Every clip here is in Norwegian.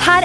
her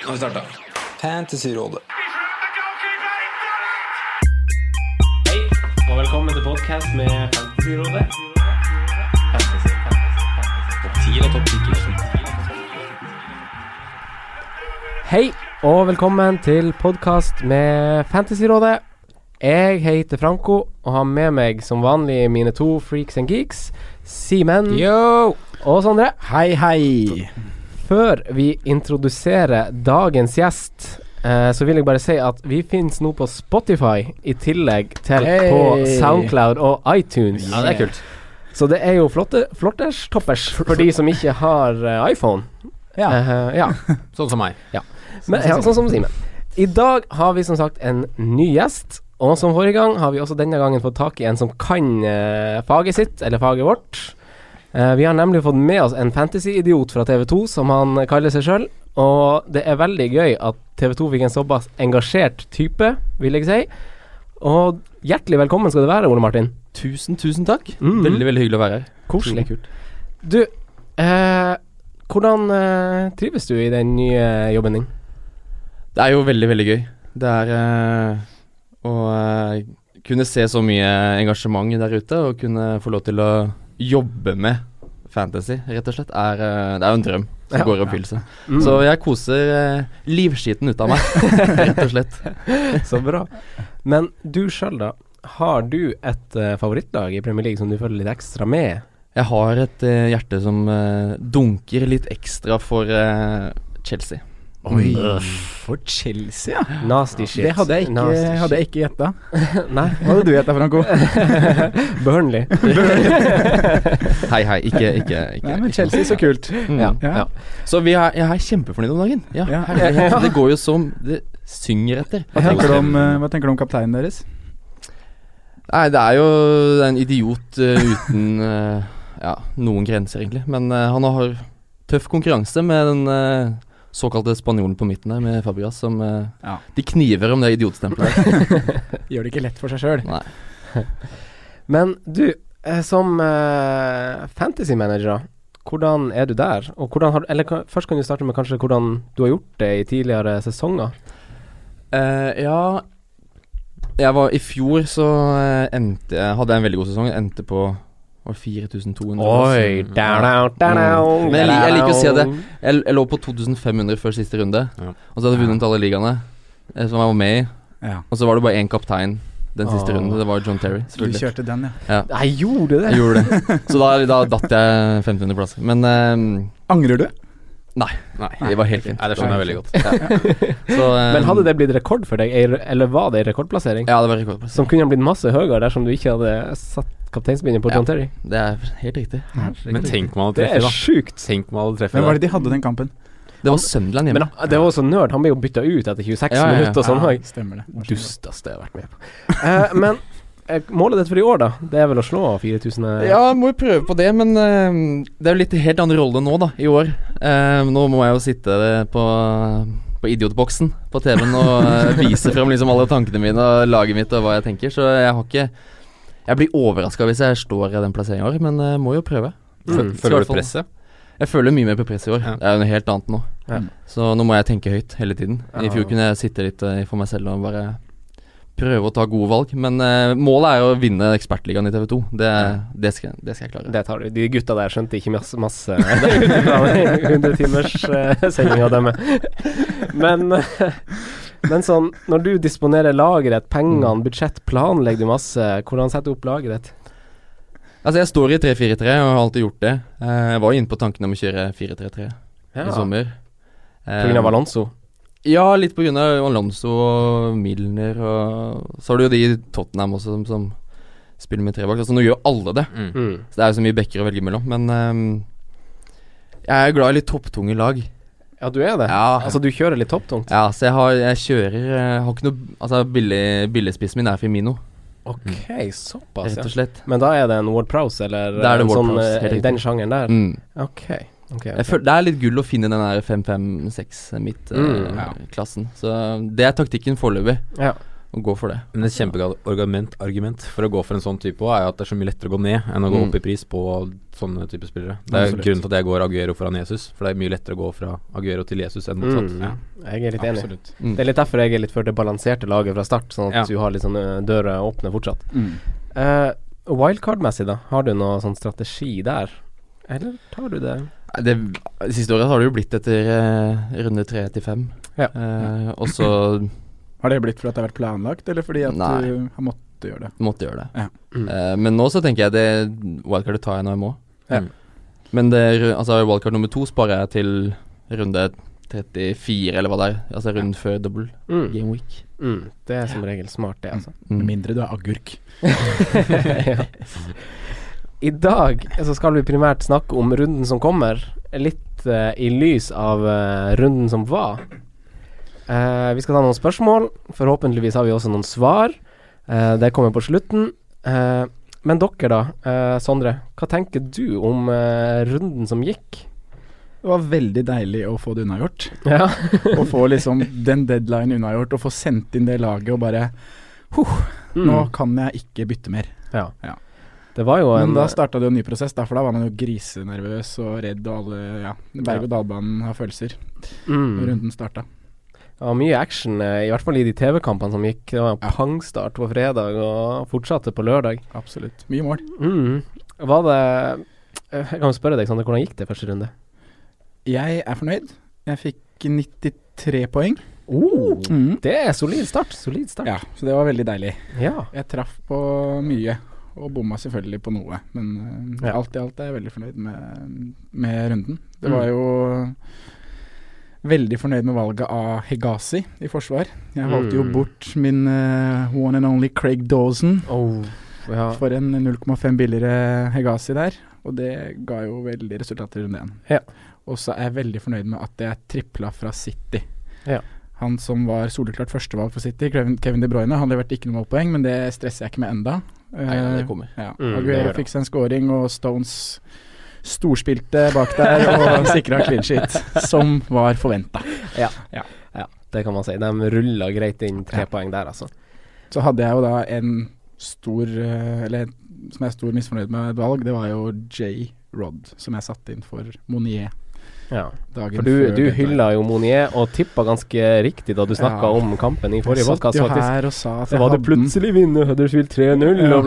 Nå har vi starta. Fantasyrådet. Hei, og velkommen til podcast med Fantasyrådet. Hei, og velkommen til podcast med Fantasyrådet. Jeg heter Franco, og har med meg som vanlig mine to freaks and geeks, Simen og Sondre. Hei, hei. Før vi introduserer dagens gjest, eh, så vil jeg bare si at vi finnes nå på Spotify i tillegg til Hey. på Soundcloud og iTunes. Ja, det er kult. Så det er jo flotte, flotters toppers for de som ikke har eh, iPhone. Ja. Eh, ja. Sånn som meg. Men, ja, sånn som Simen. I dag har vi som sagt en ny gjest. Og som forrige gang har vi også denne gangen fått tak i en som kan eh, faget sitt, eller faget vårt. Eh, vi har nemlig fått med oss en fantasy-idiot fra TV2, som han kaller seg sjøl. Og det er veldig gøy at TV2 fikk en såpass engasjert type, vil jeg si. Og hjertelig velkommen skal du være, Ole Martin. Tusen, tusen takk. Mhm. Veldig, veldig hyggelig å være her. Koselig. Du, eh, hvordan eh, trives du i den nye jobben din? Det er jo veldig, veldig gøy. Det er eh, å eh, kunne se så mye engasjement der ute, og kunne få lov til å jobbe med fantasy, rett og slett, er, eh, det er jo en drøm som Ja. går i oppfyllelse. Så jeg koser eh, livskiten ut av meg, rett og slett. Så bra. Men du sjøl, da. Har du et eh, favorittlag i Premier League som du følger litt ekstra med? Jeg har et eh, hjerte som eh, dunker litt ekstra for eh, Chelsea. Oi. For Chelsea, ja. Nasty shit. Det hadde jeg ikke, Nasty shit. hadde jeg ikke gjetta. Nei. Hva hadde du gjetta, Franco? Burnley. Hei, hei, ikke, ikke, ikke. Nei, men Chelsea, så kult. Mm. Ja. Ja. ja. Så vi er, jeg er kjempefornøyd om dagen. Ja, Ja. herlighet. Det går jo som Det synger etter. Hva tenker, du om, eh, hva tenker du om kapteinen deres? Nei, det er jo det er en idiot eh, uten eh, ja, noen grenser, egentlig. Men eh, han har tøff konkurranse med den eh, såkalte spanjolen på midten der, med Fabregas, som eh, Ja. De kniver om det idiotstempelet. der. Gjør det ikke lett for seg sjøl. Nei. Men du, eh, som eh, fantasy-manager, hvordan er du der? Og hvordan har, eller ka- først kan du starte med kanskje hvordan du har gjort det i tidligere sesonger. Eh, ja jeg var, I fjor så eh, endte jeg Hadde jeg en veldig god sesong. Endte på var det 4200. plass? Mm. Men jeg, lik- jeg liker å si at jeg, jeg, jeg lå på 2500 før siste runde. Ja. Og så hadde jeg vunnet alle ligaene eh, som jeg var med i. Ja. Og så var det bare én kaptein den siste Åh. runden. Det var John Terry. Du selvfølgelig kjørte den, ja. Nei, gjorde du det? Jeg gjorde det. Så da, da datt jeg 1500 plasser. Men eh, Angrer du? nei, det var helt fint. Nei, det skjønner jeg veldig godt. Så, eh, Men hadde det blitt rekord for deg, ei- eller var det en rekordplassering? ehm, Ja, det var rekordplass. Som kunne ha blitt masse høyere dersom du ikke hadde satt kapteinsbindet på Ja. John Terry. Det er helt riktig. Men tenk om han hadde Det er treffet, da. sjukt. Tenk om han hadde Hvem treffet. var da. det de hadde den kampen? Det var Sunderland hjemme. Men ah, det var også nerd. Han ble jo bytta ut etter 26 Ja, ja, ja. minutter og sånn. Ja, Ja. stemmer det. Dusteste jeg har vært med på. Eh, men eh, målet ditt for i år, da? Det er vel å slå 4000? eh, Ja, må jo prøve på det, men eh, det er jo litt helt annen rolle nå, da, i år. Eh, nå må jeg jo sitte eh, på, på idiotboksen på TV-en og eh, vise fram liksom alle tankene mine og laget mitt og hva jeg tenker, så jeg har ikke Jeg blir overraska hvis jeg står i den plasseringa i år, men eh, må jo prøve. Mm. Skal i hvert Føler du fall- presset? Jeg føler mye mer på press i år. Ja. Det er jo noe helt annet nå. Ja. Så nå må jeg tenke høyt hele tiden. I Ja. fjor kunne jeg sitte litt eh, for meg selv og bare prøve å ta gode valg. Men eh, målet er jo å vinne Ekspertligaen i TV 2. Det, det, skal, det skal jeg klare. Det tar du. De gutta der skjønte ikke masse, masse 100 timers eh, sending av dem. Men eh, Men sånn, når du disponerer lageret, Mm. pengene, budsjett, planlegger du masse. Hvordan setter du opp lageret ditt? Altså, jeg står i 3-4-3 og har alltid gjort det. Eh, Jeg var jo inne på tanken om å kjøre 4-3-3 Ja. i sommer. Eh, På grunn av Alonso? Ja, litt på grunn av Alonso og Milner og Så har du jo de i Tottenham også som, som spiller med tre bak. Altså, nå gjør alle det. Mm. Så det er jo så mye bekker å velge mellom. Men ehm, jeg er glad i litt topptunge lag. Ja, du er det? Ja. Altså, du kjører litt topptungt? Ja, så jeg, har, jeg kjører jeg har ikke noe Altså, billig, billigspissen min er Firmino, Ok, såpass, Mm. rett ja. og slett. Men da er det en Ward Prowse, eller Da er det en Ward sånn, Prowse, eh, helt riktig. den sjangeren der? Mm. Ok. ok, Jeg ok. føler, det er litt gull å finne den der 5-5-6 Mm. midt-klassen. eh, så det er taktikken foreløpig. Ja. Å gå for det. Men et kjempegodt argument, argument for å gå for en sånn type også, er jo at det er så mye lettere å gå ned enn å gå Mm. opp i pris på sånne type spillere. Det er Mm. Absolutt. grunnen til at jeg går Aguero foran Jesus, for det er mye lettere å gå fra Aguero til Jesus enn motsatt. Mm. Jeg er litt enig. Absolutt. Mm. Det er litt derfor jeg er litt for det balanserte laget fra start, sånn at Ja. du har litt sånn ø, døra åpne fortsatt. Mm. Eh, Wildcard-messig, da? Har du noe sånn strategi der? Eller tar du det Nei, Det, det siste året har det jo blitt etter eh, runde tre til fem. Ja. Eh, og så Har det blitt fordi at det har vært planlagt, eller fordi at Nei. du har måttet gjøre det? måtte jeg gjøre det. Ja. Mm. Eh, men nå så tenker jeg det wildcardet tar jeg når jeg må. Mm. Ja. Men det, er- altså, wildcard nummer to sparer jeg til runde 34, eller hva det er. Altså runden før double mm. game week. mm. Det er som regel smart, det, altså. Mm. Med mindre du er agurk. ja. I dag eh, så skal vi primært snakke om runden som kommer, litt eh, i lys av eh, runden som var. Eh, vi skal ta noen spørsmål. Forhåpentligvis har vi også noen svar. Eh, det kommer på slutten. Eh, men dere, da. eh, Sondre, hva tenker du om eh, runden som gikk? Det var veldig deilig å få det unnagjort. Ja. Å få liksom den deadline unnagjort, og få sendt inn det laget og bare Mm. Nå kan jeg ikke bytte mer. Det var jo en eh, Men da starta det jo en ny prosess, da, for da var man jo grisenervøs og redd, og alle ja, berg-og-dal-banen har følelser. mm, når Runden starta. Det var mye action, eh, i hvert fall i de TV-kampene som gikk. Det var Ja. pangstart på fredag og fortsatte på lørdag. Absolutt. Mye mål. Mm. Var det eh, Jeg kan jo spørre deg, Sander, hvordan gikk det første runde? Jeg er fornøyd. Jeg fikk 93 poeng. Oh. Mm. Det er solid start. Solid start. Ja, så det var veldig deilig. Ja. Jeg traff på mye, og bomma selvfølgelig på noe. Men eh, Ja. Mm. alt i alt er jeg veldig fornøyd med, med runden. Det var jo veldig fornøyd med valget av Hegazi i forsvar. Jeg valgte jo Mm. bort min eh, one and only Craig Dawson Oh, ja. for en 0,5 billigere Hegazi der, og det ga jo veldig resultater i runde én. Ja. Og så er jeg veldig fornøyd med at jeg tripla fra City. Ja. Han som var soleklart førstevalg for City, Kevin Kevin De Bruyne, han leverte ikke noe målpoeng, men det stresser jeg ikke med enda. Nei, ja, Eh, det kommer. ja. Mm, det gjør Aguero det. fikk seg en scoring, og Stones storspilte bak der og sikra clean sheet, som var forventa. Det kan man si. De rulla greit inn tre Ja. poeng der, altså. Så hadde jeg jo da en stor eh, Eller som jeg er stor misfornøyd med et valg, det var jo J. Rod, som jeg satte inn for Monier Ja. dagen For du, før. du deadline. hylla jo Monier og tippa ganske riktig da du snakka Ja. om kampen i forrige podkast, Jeg satt jo faktisk. her og sa at Så jeg var det hadde den, plutselig vinner Huddersfield 3-0 Ja. og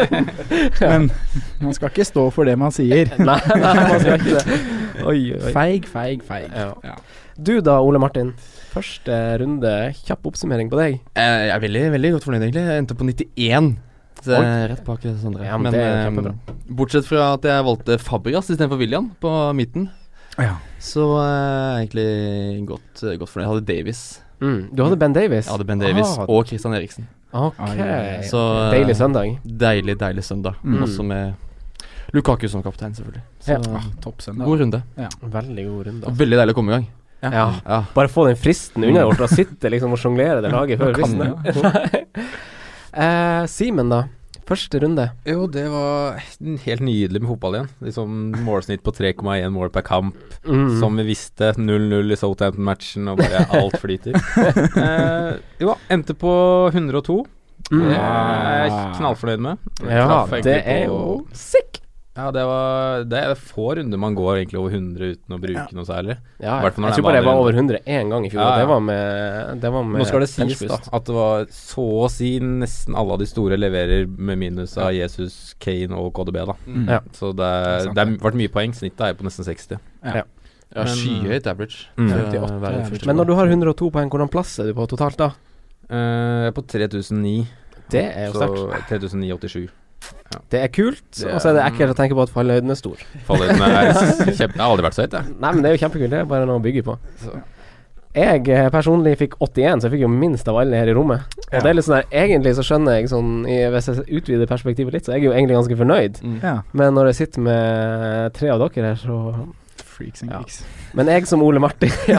bla. Men man skal ikke stå for det man sier. Nei, nei, man skal ikke det. Oi, oi. Feig, feig, feig. Ja. Ja. Du da, Ole Martin. Første runde, kjapp oppsummering på deg. Eh, jeg er veldig, veldig godt fornøyd, egentlig. Jeg endte på 91. Så jeg er rett bak Sondre. Ja, men det er eh, kjempebra. bortsett fra at jeg valgte Fabregas istedenfor William på midten, Ja. så eh, jeg er egentlig godt, eh, godt fornøyd. Jeg hadde Davies. Mm. Du hadde Ben Davies. Jeg hadde Ben Davies Ah. og Christian Eriksen. Ok. Ai, Så eh, Deilig søndag. Deilig, deilig søndag. Mm. Også med Lukaku som kaptein, selvfølgelig. Så Ja. Ah, Topp søndag. god runde. Veldig god runde. Og veldig deilig å komme i gang. Ja. Ja. Bare få den fristen unnagjort. Da sitter liksom og sjonglerer det laget før kan fristen. Eh, Simen, da. Første runde. Jo, det var helt nydelig med fotball igjen. Liksom Målsnitt på 3,1 mål per kamp. Mm. Som vi visste, 0-0 i Southampton-matchen, og bare alt flyter. eh, jo, endte på 102. Mm. Det er jeg knallfornøyd med. Ja, Traff egentlig det er på- jo sick. Ja, det, var, det er få runder man går egentlig over 100 uten å bruke noe særlig. Ja, jeg Hvertfall når det er tror bare jeg var vanlig over 100 én gang i fjor. Ja, og ja. Det var med, det var med Nå skal det sies Pelspust. da at det var så å si nesten alle av de store leverer med minus av Jesus, Kane og KDB, da. Mm. Ja. Så det, er- Det er sant, det har vært mye poeng. Snittet er på nesten 60. Ja, skyhøyt average. Mm. Så, 58 hver første Men runde. når du har 102 poeng, hvordan plass er du på totalt da? Eh, Jeg er på 3009. Det er jo sterkt. Så 3987. Det er kult, Det er- og så er det ekkelt å tenke på at fallhøyden er stor. Fallhøyden er kjempe... Jeg har aldri vært så høyt, jeg. Nei, men det er jo kjempekult. Det er bare noe å bygge på. Så. Jeg eh, personlig fikk 81, så jeg fikk jo minst av alle her i rommet. Og det er litt sånn der, Egentlig så skjønner jeg sånn i, Hvis jeg utvider perspektivet litt, så er jeg jo egentlig ganske fornøyd. Ja. Men når jeg sitter med tre av dere her, så Freaks and Ja. geeks. Men jeg som Ole Martin ja.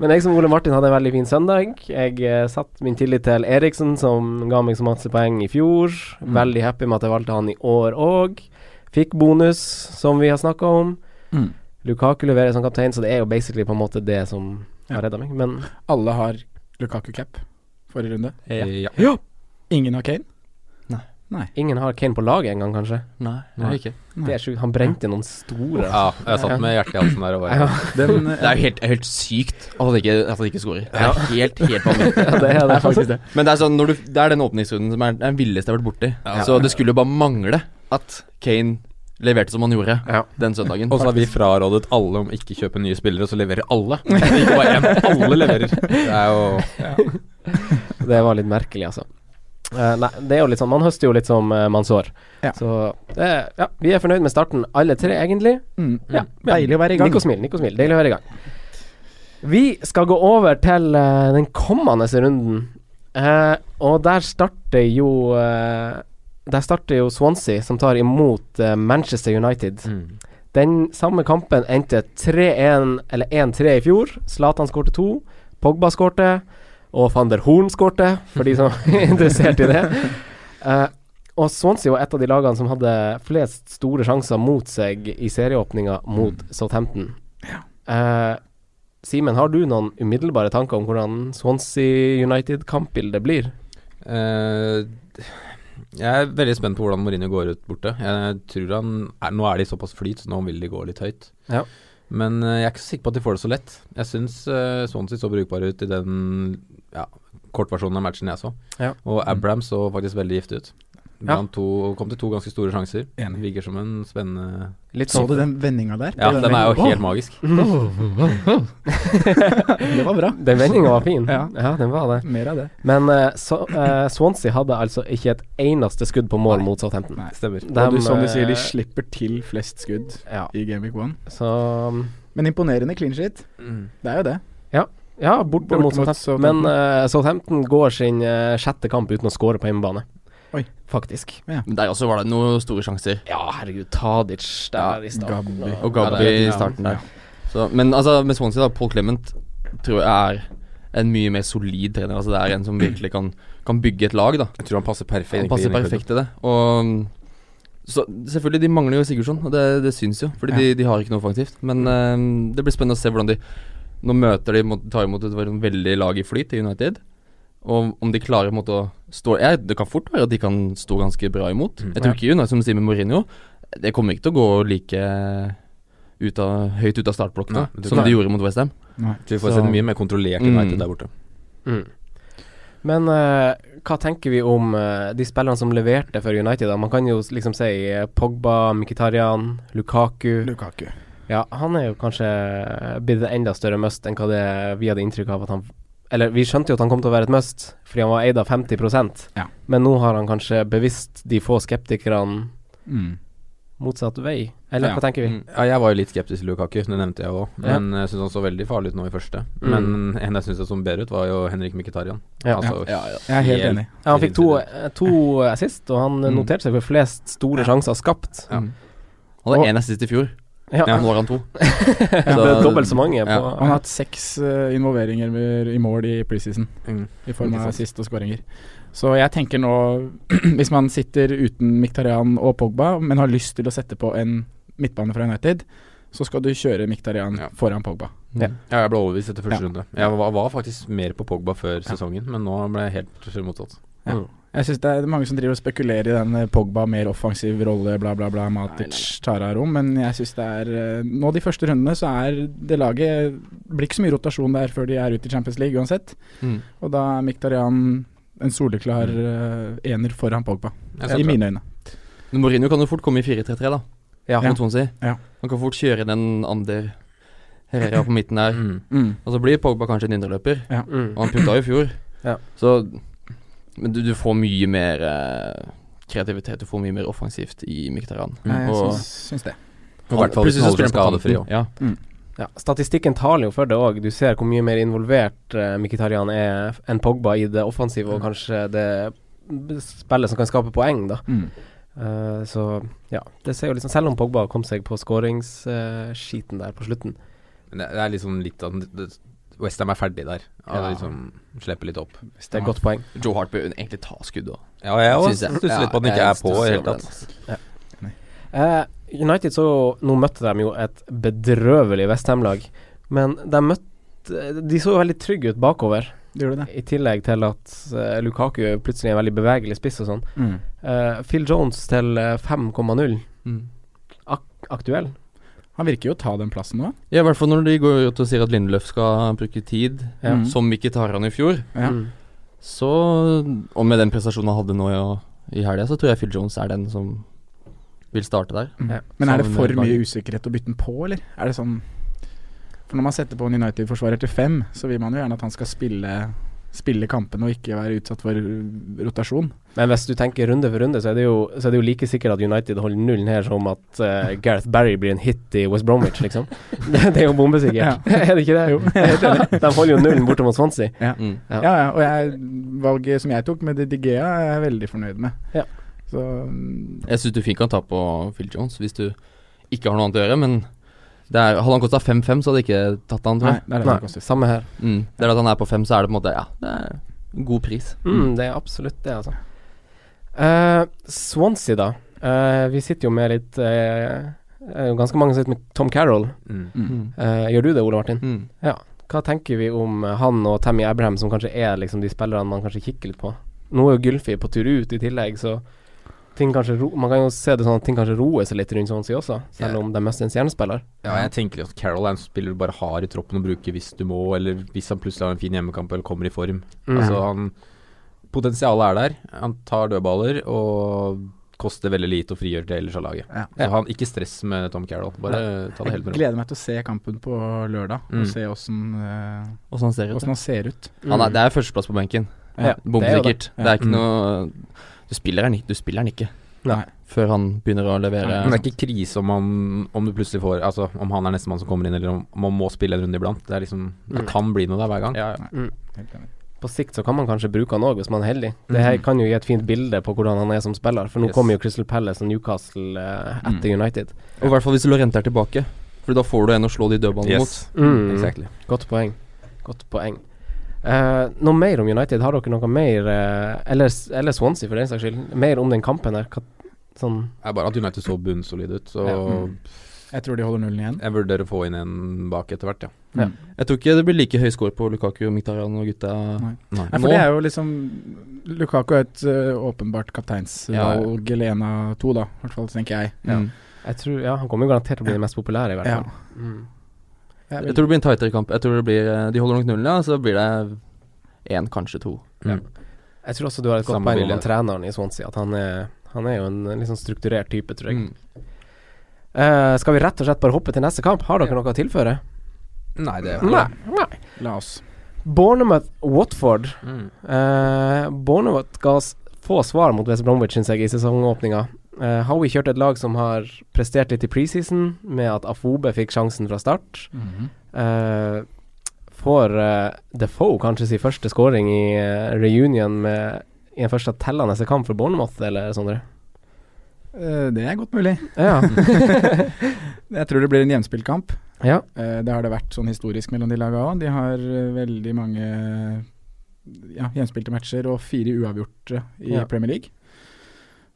Men jeg som Ole Martin hadde en veldig fin søndag. Jeg eh, satt min tillit til Eriksen, som ga meg så masse poeng i fjor. Veldig happy med at jeg valgte han i år òg. Fikk bonus, som vi har snakka om. Mm. Lukaku leverer som kaptein, så det er jo basically på en måte det som Ja. har redda meg. Men Alle har Lukaku-cap forrige runde. Ja. Ingen har Kane. ingen har Kane på laget engang, kanskje. Nei, det er ikke. Nei. Det er sjukt. Han brente noen store ja. Jeg satt med hjertet i halsen der og bare Ja. Den, Det er jo helt, helt sykt at han ikke, at han ikke scorer. Det er helt, helt vanvittig. Ja, det er det, faktisk det. Men det er, sånn, når du, det er den åpningsrunden som er den villeste jeg har vært borti. Så det skulle jo bare mangle at Kane leverte som han gjorde Ja. den søndagen. Og så har vi frarådet alle om ikke kjøpe nye spillere, og så leverer alle. Ikke bare én. eh, Alle leverer. Det er jo Det var litt merkelig, altså. Eh, nei, det er jo litt sånn Man høster jo litt som eh, man sår. Ja. Så det, ja, vi er fornøyd med starten, alle tre, egentlig. Mm. Ja, Deilig å være i gang. Nikk og smil, nikk og smil. Deilig å være i gang. Vi skal gå over til eh, den kommende runden, Eh, og der starter jo eh, Der starter jo Swansea, som tar imot eh, Manchester United. Mm. Den samme kampen endte 3-1, eller 1-3 i fjor. Zlatan skårte to, Pogba skårte, og van der Horn skårte, for de som er interessert i det. Eh, og Swansea var et av de lagene som hadde flest store sjanser mot seg i serieåpninga mot Mm. Southampton. Eh, Simen, har du noen umiddelbare tanker om hvordan Swansea United-kampbildet blir? eh, Jeg er veldig spent på hvordan Mourinho går ut borte. Jeg tror han er, Nå er de såpass flyt, så nå vil de gå litt høyt. Ja. Men eh, jeg er ikke så sikker på at de får det så lett. Jeg syns uh, Swansea så brukbare ut i den ja, kortversjonen av matchen jeg så. Ja. Og Abraham så faktisk veldig giftig ut. Ja. Han to, kom til to ganske store sjanser. Enig. Virker som en spennende Litt sånn, Så du den vendinga der? Ja, den er jo helt magisk. Det var bra. Den vendinga var fin. Ja. den var det. Mer av det. Men eh, så, eh, Swansea hadde altså ikke et eneste skudd på mål mot Southampton. Nei. Stemmer. Dem, og du, som du eh, sier, de slipper til flest skudd Ja, i Game Week 1. så Men imponerende clean shit. Mm. Det er jo det. Ja, borte, Borte mot mot Southampton. Southampton. Men eh, Southampton går sin eh, sjette kamp uten å score på hjemmebane. Oi. Faktisk. Men Der også var det noen store sjanser. Ja, herregud, Tadic der i starten. Gabby. Og Gabby Ja, det er- i starten der. Så, men altså, med Swansea, da, Paul Clement tror jeg er en mye mer solid trener. Altså, det er en som virkelig kan, kan bygge et lag, da. Jeg tror han passer perfekt. Han passer inn i klubben. perfekt til det. Og mm, så, selvfølgelig, de mangler jo Sigurdsson, og det, det syns jo. Fordi de, de har ikke noe offensivt. Men Mm. eh, det blir spennende å se hvordan de Nå møter de må ta imot et veldig- veldig lag i flyt i United. Og om de klarer på en måte å stå ja, Det kan fort være at de kan stå ganske bra imot. Mm. Jeg tror ikke United, som du sier med Mourinho, det kommer ikke til å gå like ut av, høyt ut av startblokkene Nei, det tror som sånn jeg. de gjorde mot Westham. Vi får Så- se en mye mer kontrollert Mm. United der borte. Mm. Men eh, hva tenker vi om eh, de spillerne som leverte for United? Da? Man kan jo s- liksom si eh, Pogba, Mkhitaryan, Lukaku. Lukaku. Ja, han er jo kanskje eh, blitt et enda større must enn hva det vi hadde inntrykk av at han Eller vi skjønte jo at han kom til å være et must, fordi han var eid av 50 Ja. men nå har han kanskje bevisst de få skeptikerne Mm. motsatt vei. Eller Ja. hva tenker vi? Mm. Ja, jeg var jo litt skeptisk til Lukaku, det nevnte jeg òg. Men jeg syns han så veldig farlig ut nå i første. Mm. Men en jeg syns så bedre ut, var jo Henrik Mkhitaryan. Ja. Altså, Ja, ja. Jeg er helt enig. Ja, han fikk to, eh, to assist, og han eh, noterte seg for flest store sjanser skapt. Mm. Ja. Han Og- hadde én assist i fjor, Ja, nå har han to. Det er dobbelt så mange. Ja. På, Han har hatt seks eh, involveringer med- i mål i preseason, Mm. i form Ikke av sant. assist og skåringer. Så jeg tenker nå, hvis man sitter uten Miktarian og Pogba, men har lyst til å sette på en midtbane fra United, så skal du kjøre Miktarian Ja. foran Pogba. Ja, jeg ble overbevist etter første Ja. runde. Jeg var, var faktisk mer på Pogba før sesongen, men nå ble jeg helt motsatt. Jeg synes det er mange som driver og spekulerer i den eh, Pogba mer offensiv rolle, bla, bla, bla, Matic tar av rom, men jeg syns det er eh, Nå de første rundene så er det laget Blir ikke så mye rotasjon der før de er ute i Champions League uansett, Mm. og da er Miktarian en soleklar eh, ener foran Pogba, Mm. Jeg ser i bra. mine øyne. Men Mourinho kan jo fort komme i 4-3-3, da. Ja. mot Swansea. Ja. Han kan fort kjøre den under Herrera på midten der. Mm. Og så blir Pogba kanskje en indreløper. Ja. Mm. Og han putta jo i fjor. Ja. Så Men du, du får mye mer eh, kreativitet, du får mye mer offensivt i Mkhitaryan. Nei, jeg Og- syns, syns det. I hvert fall hvis Mm. Plutselig han så holder seg spiller han på skadefri kanten. òg. Ja. Ja, statistikken taler jo for det òg. Du ser hvor mye mer involvert uh, Mkhitarian er f- enn Pogba i det offensive Mm. og kanskje det b- spillet som kan skape poeng, da. Mm. Eh, så ja, det ser jo liksom Selv om Pogba kom seg på skåringsskiten der på slutten. Men det, det er liksom litt av Westham er ferdig der. Ja. det Liksom Slipper litt opp. Så det er et godt poeng. Joe Hart bør jo egentlig ta skuddet òg. Ja, jeg også òg stusser litt på at den ikke er på i det hele tatt. altså. Eh, United så Nå møtte de jo et bedrøvelig Westham-lag, men de møtte De så jo veldig trygge ut bakover, Det gjorde det. i tillegg til at eh, Lukaku er plutselig en veldig bevegelig spiss og sånn. Mm. Eh, Phil Jones til eh, 5,0 Mm. Ak aktuell. Han virker jo å ta den plassen nå. Ja, I hvert fall når de går ut og sier at Lindløf skal bruke tid, Ja. Mm. som Mkhitaryan i fjor. Ja. Mm. Så Og med den prestasjonen han hadde nå i, i helga, så tror jeg Phil Jones er den som vil starte der. Mm. Ja. Men er det Sammen for med mye laget. usikkerhet å bytte den på, eller? Er det sånn For når man setter på en United-forsvarer til fem, så vil man jo gjerne at han skal spille Spille kampene og ikke være utsatt for uh, rotasjon. Men hvis du tenker runde for runde, så er det jo, så er det jo like sikkert at United holder nullen her som at eh, Gareth Barry blir en hit i West Bromwich, liksom. det, det er jo bombesikkert. er det ikke det? Jo. De holder jo nullen borte mot Swansea. Mm. Ja. Ja, ja, og jeg, valget som jeg tok med Didi Gea, er jeg veldig fornøyd med. Ja. Så mm, Jeg syns du fint kan ta på Phil Jones hvis du ikke har noe annet å gjøre, men det er, hadde han kosta 5-5, så hadde jeg ikke tatt han, tror Nei, jeg. det er det Nei, det koster. samme her. Mm. Det er at han er på 5, så er det på en måte Ja, det er en god pris. Mm, det er absolutt det, altså. Eh, Swansea, da. Eh, vi sitter jo med litt eh, eh, Ganske mange som sitter med Tom Carroll. Mm. Mm. Eh, gjør du det, Ole Martin? Mm. Hva tenker vi om eh, han og Tammy Abraham, som kanskje er liksom de spillerne man kanskje kikker litt på? Nå er jo Gylfi på tur ut i tillegg, så ting kanskje ro man kan jo se det sånn at ting kanskje roer seg litt rundt Swansea også, selv Ja. om de mest er en stjernespiller. Ja, jeg tenker at Carroll er en spiller du bare har i troppen å bruke hvis du må, eller hvis han plutselig har en fin hjemmekamp eller kommer i form. Mm. Altså han Potensialet er der. Han tar dødballer og koster veldig lite og frigjør det ellers av laget. Ja. Så han, ikke stress med Tom Carroll. Bare ta det Jeg helt med ro. gleder meg til å se kampen på lørdag, Mm. og se åssen eh, Og sånn ser det ut. åssen Mm. han ser ut. Han er, det er førsteplass på benken. Ja, Bomsikkert. Ja. Det er ikke Mm. noe Du spiller han, ikke- du spiller han ikke Nei. før han begynner å levere. Men det er ikke krise om han Om du plutselig får Altså om han er nestemann som kommer inn, eller om om han må spille en runde iblant. Det er liksom Det Mm. kan bli noe der hver gang. Helt enig. På sikt så kan man kanskje bruke han òg, hvis man er heldig. Det her kan jo gi et fint bilde på hvordan han er som spiller, for nå Yes. kommer jo Crystal Palace og Newcastle eh, etter United. Og i hvert fall hvis Lorente er tilbake. For da får du en å slå de dødballene mot. Yes. Mm. Exactly. Godt poeng. Godt poeng. Eh, noe mer om United? Har dere noe mer eh, eller, eller Swansea, for den saks skyld. Mer om den kampen her? Hva, sånn Det er bare at United så bunnsolid ut, så Ja. Mm. Jeg tror de holder nullen igjen. Mm. jeg vurderer å få inn en bak etter hvert, ja. Jeg tror ikke det blir like høy score på Lukaku og Mkhitaryan og gutta Nei. Nei. Nei, for det er jo liksom Lukaku er et ø, åpenbart kapteinsvalg, eller en av to, da. I hvert fall tenker jeg. Ja. Jeg tror, ja, Han kommer jo garantert til å bli den mest populære, i hvert Ja. fall. Mm. Jeg Jeg vil, tror det blir en tightere kamp. Jeg tror det blir eh, De holder nok nullen, ja. Så blir det én, kanskje to. Jeg tror også du har et godt Samme poeng om bilde. han treneren i Swansea, at han er, han er jo en litt sånn strukturert type, tror jeg. Mm. Eh, skal vi rett og slett bare hoppe til neste kamp? Har dere noe å tilføre? Nei, det Nei. Nei. la oss. Bournemouth-Watford. Mm. Eh, Bournemouth ga oss få svar mot West Bromwich synes jeg, i sesongåpninga. Eh, Howie kjørte et lag som har prestert litt i preseason, med at Afobe fikk sjansen fra start. Mm. Eh, får eh, Defoe kanskje sin første scoring i eh, reunion med i en første tellende kamp for Bournemouth, eller Sondre? Eh, det er godt mulig. Ja. Jeg tror det blir en jevnspilt kamp. ja. Eh, det har det vært sånn historisk mellom de laga òg. De har eh, veldig mange ja, jevnspilte matcher og fire uavgjorte i Ja. Premier League.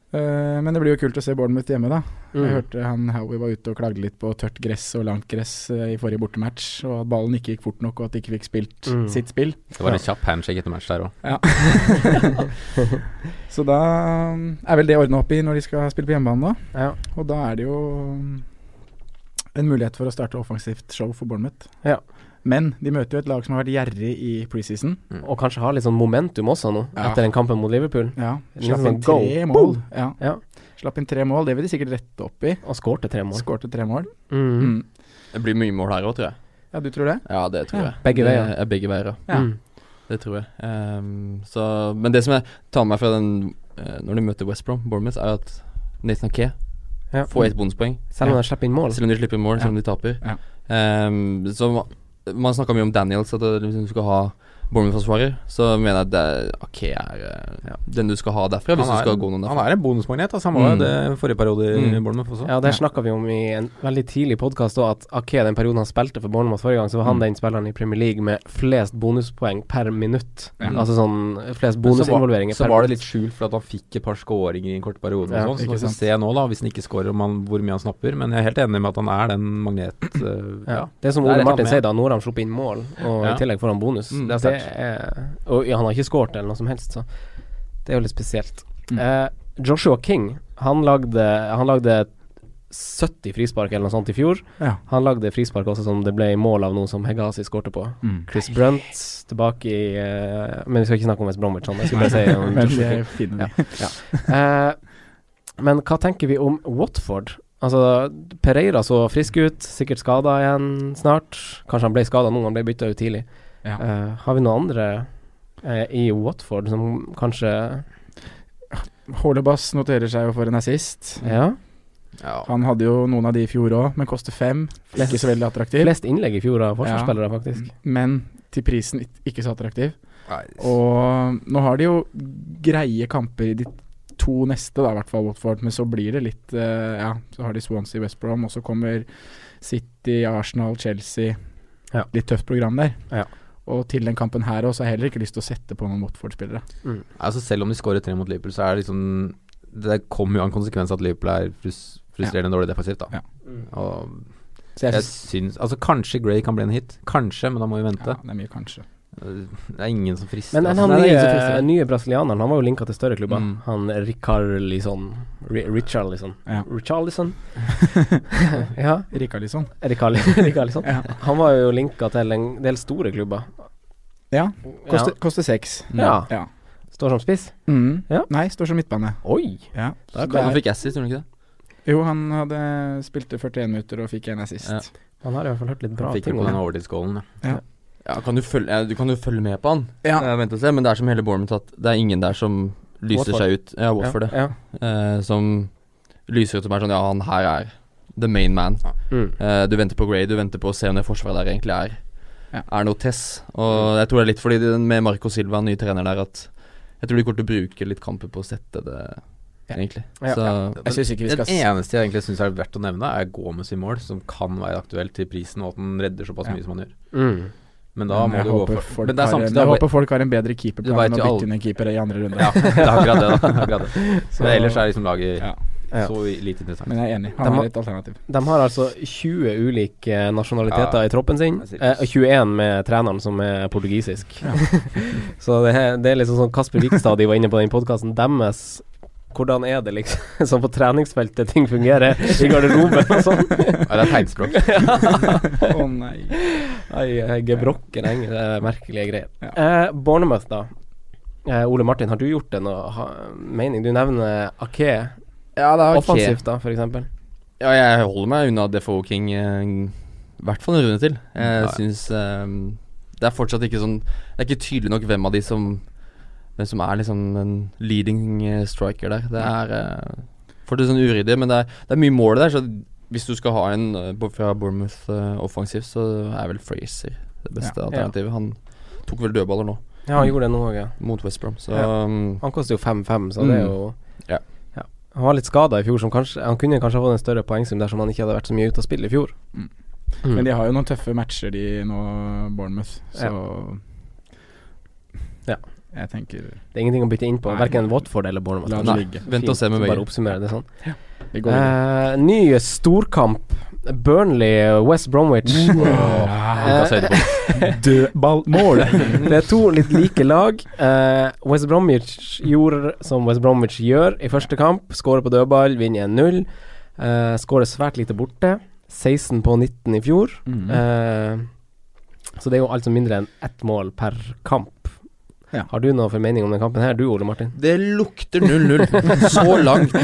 Eh, men det blir jo kult å se Bournemouth hjemme, da. Jeg Mm. hørte han Howie var ute og klagde litt på tørt gress og langt gress eh, i forrige bortematch, og at ballen ikke gikk fort nok, og at de ikke fikk spilt Mm. sitt spill. Det var en kjapp handshake etter match der òg. Så da um, er vel det ordna opp i når de skal spille på hjemmebane nå. Ja. Og da er det jo um, en mulighet for å starte offensivt show for Bournemouth. Ja. Men de møter jo et lag som har vært gjerrig i preseason. Og kanskje har litt sånn momentum også nå, Ja. etter den kampen mot Liverpool. Ja. Litt Slapp sånn inn go, tre mål. boom! Ja. Ja. Slapp inn tre mål, det vil de sikkert rette opp i. Og skårte tre mål. Skårte tre mål. Mm. Mm. Det blir mye mål her òg, tror jeg. Ja, du tror det? Ja, det tror Ja. jeg. Begge Det veier. er Begge veier, ja. Ja. Mm. Det tror jeg. Ehm, så, men det som jeg tar med meg fra den eh, når de møter West Brom, Bournemouth, er at Nathan Ake Ja. får ett bonuspoeng. Selv om de slipper inn mål. Selv om de slipper mål, selv om de taper. Ja. Ehm, så ma- man snakka mye om Daniels, at du liksom skal ha Bournemouth-forsvarer. Så mener jeg at det er- Ake er eh, den du skal ha derfra, Han hvis er- du skal gå noen derfra. Han er en bonusmagnet. Altså. Han var jo Mm. det forrige periode i Mm. Bournemouth også. Ja, der snakka vi om i en veldig tidlig podkast at Ake, den perioden han spilte for Bournemouth forrige gang, så Mm. var han den spilleren i Premier League med flest bonuspoeng per minutt. Altså sånn flest Mm. Men så var- bonusinvolveringer Så per var det minutt. litt skjult for at han fikk et par skåringer i en kort periode. Ja, og sånn, så ikke vi får sant. se nå, da, hvis han ikke skårer, om han, hvor mye han snapper. Men jeg er helt enig med at han er den magnet... øh, Ja. ja. Det er som Der er Ole jeg helt Martin med. sier, da. Nå har de sluppet inn mål, og Ja. i tillegg får han bonus. Mm, det er sterkt. det er, og ja, han har ikke skåret eller noe som helst, så det er jo litt spesielt. Mm. Eh, Joshua King, han lagde, han lagde 70 frispark eller noe sånt i fjor. Ja. Han lagde frispark også som det ble mål av noe som Hegasi skårte på. Mm. Chris Brunt tilbake i eh, Men vi skal ikke snakke om West Bromwich, sånn. Jeg skulle bare si om Men Joshua det King. finner vi. Eh, men hva tenker vi om Watford? Altså, Pereira så frisk ut, sikkert skada igjen snart. Kanskje han ble skada nå, han ble bytta ut tidlig. Ja. Eh, har vi noen andre eh, i Watford som kanskje Hålebass noterer seg jo for en assist. Ja, Ja. Han hadde jo noen av de i fjor òg, men koster fem. Flest- Ikke så veldig attraktiv. flest innlegg i fjor av forsvarsspillere, faktisk. Men til prisen ik- ikke så attraktiv. Nei, Og nå har de jo greie kamper i de to neste, da, i hvert fall Watford. Men så blir det litt eh, Ja, så har de Swansea, West Brom, og så kommer City, Arsenal, Chelsea. Ja. Litt tøft program der. Ja. Og til den kampen her òg, så har jeg heller ikke lyst til å sette på noen Watford-spillere. altså Selv om de skårer tre mot Liverpool, så er det liksom Det kommer jo av en konsekvens at Liverpool er frus frustrerende dårlig defensivt, da. Ja. Og Så jeg jeg synes- syns Altså, kanskje Gray kan bli en hit. Kanskje, men da må vi ja, vente. det er mye, kanskje. Det er ingen som frister. Men altså. han Nei, det er ingen som nye, frister. nye brasilianeren, han var jo linka til større klubber. Mm. Han Ricard Lison Richard Lison. Ja. Richard Lison. ja, Rikarlison. Ricard Lison. sånn. Ja. Han var jo linka til en del store klubber. Ja, koster, koster seks. Ja. ja. Står som spiss. Mm. Ja. Nei, står som midtbane. Oi! Ja. Så det Han er- fikk assist, gjorde han ikke det? Jo, han hadde spilte 41 minutter og fikk en assist. Ja. Han har i hvert fall hørt litt bra Han Fikk ting. jo på om den det. overtidsskålen. Ja, kan du, følge, ja, du kan jo følge med på han, Ja. Eh, vent og se, men det er som hele Bournemouth at det er ingen der som lyser Watford. seg ut. Ja, Watford, det. Ja. eh, som lyser ut som er sånn Ja, han her er the main man. Mm. Eh, du venter på Gray, du venter på å se om det forsvaret der egentlig er Ja. Er noe tess. Og jeg tror det er litt fordi det, med Marco Silva, ny trener der, at jeg tror de kommer til å bruke litt kamper på å sette det, Ja. egentlig. Ja. Så Jeg syns ikke vi eh, Den skal s- eneste jeg egentlig syns er verdt å nevne, er Gomez i mål, som kan være aktuelt til prisen, og at den redder såpass Ja. mye som han gjør. Mm. Men da Men må jeg du gå håper for folk Men det er har en- samtidig Jeg da- håper folk har en bedre Du vet keeperplan enn jo å alle- bytte inn en keeper i andre runde. Ja, det er akkurat det, da. Det er akkurat det. Men ellers er liksom laget Ja. Ja. så lite interessant. Men jeg er enig, De han har- har et alternativ. De har altså 20 ulike eh, nasjonaliteter Ja. i troppen sin, Det er eh, og 21 med treneren som er portugisisk. så det, er- det er liksom sånn Kasper Vikstad de var inne på den podkasten, deres hvordan er det liksom sånn på treningsfeltet ting fungerer, i garderoben og sånn? Ja, det er tegnspråk. Å nei. Ai, eh, Gebrokken enge, det er merkelige greier. Ja. Eh, Bournemouth, da. Eh, Ole Martin, har du gjort deg noe ha, mening? Du nevner Ake. Ja, det Offensivt, da, for eksempel. Ja, jeg holder meg unna Defoe King eh, i hvert fall en runde til. Jeg Ja, ja. synes, eh, Det er fortsatt ikke sånn Det er ikke tydelig nok hvem av de som Hvem som er liksom en leading eh, striker der. Det er eh, fortsatt sånn uryddig, men det er, det er mye mål der, så hvis du skal ha en eh, bo- fra Bournemouth eh, offensivt, så er vel Fraser det beste Ja. alternativet. Han tok vel dødballer nå, Ja, han gjorde det nå òg, ja. mot West Brom, så Ja. mm, Han koster jo 5-5, så Mm. det er jo Ja. Han var litt skada i fjor, som kanskje Han kunne kanskje ha fått en større poengsum dersom han ikke hadde vært så mye ute av spill i fjor. Men de har jo noen tøffe matcher, de nå, Bournemouth, så Ja. Jeg tenker Det er ingenting å bytte inn på, Nei. verken Watford eller Bournemouth. La det Nei. ligge. Vent og se med Fint å Weyer. Bare oppsummere det sånn. Vi går videre. Eh, ny storkamp. Burnley, West Bromwich. Eh, Lukas Høydeborg. Dødballmål! Det er to litt like lag. Eh, West Bromwich gjorde som West Bromwich gjør i første kamp. Skårer på dødball, vinner 1-0. Eh, Skårer svært lite borte. 16 på 19 i fjor. Eh, så det er jo altså mindre enn ett mål per kamp. Ja. Har du noe formening om den kampen her, du Ole Martin? Det lukter 0-0 så langt.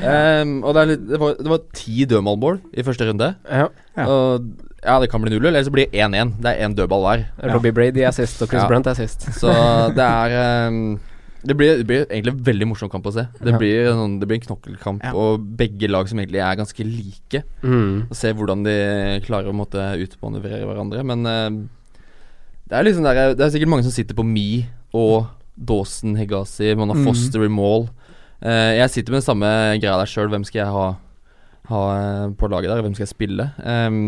Um, Ehm, og det, er litt, det, var, det var ti dødmålmål i første runde. Ja. Ja. Og Ja, det kan bli 0-0, eller så blir det 1-1. Det er én dødball hver. Ja. Robbie Brady er sist, og Chris Brunt er sist. Så det er ehm, det blir, det blir egentlig en veldig morsom kamp å se. Det Ja. blir, en sånn, det blir en knokkelkamp, Ja. og begge lag som egentlig er ganske like. Mm. Og se hvordan de klarer å måtte utmanøvrere hverandre. Men ehm, det er liksom der, Det er sikkert mange som sitter på Mi og Dawson Hegazi, man har Mm. Foster i mål. Eh, jeg sitter med den samme greia der sjøl. Hvem skal jeg ha, ha eh, på laget der? Hvem skal jeg spille? Ehm,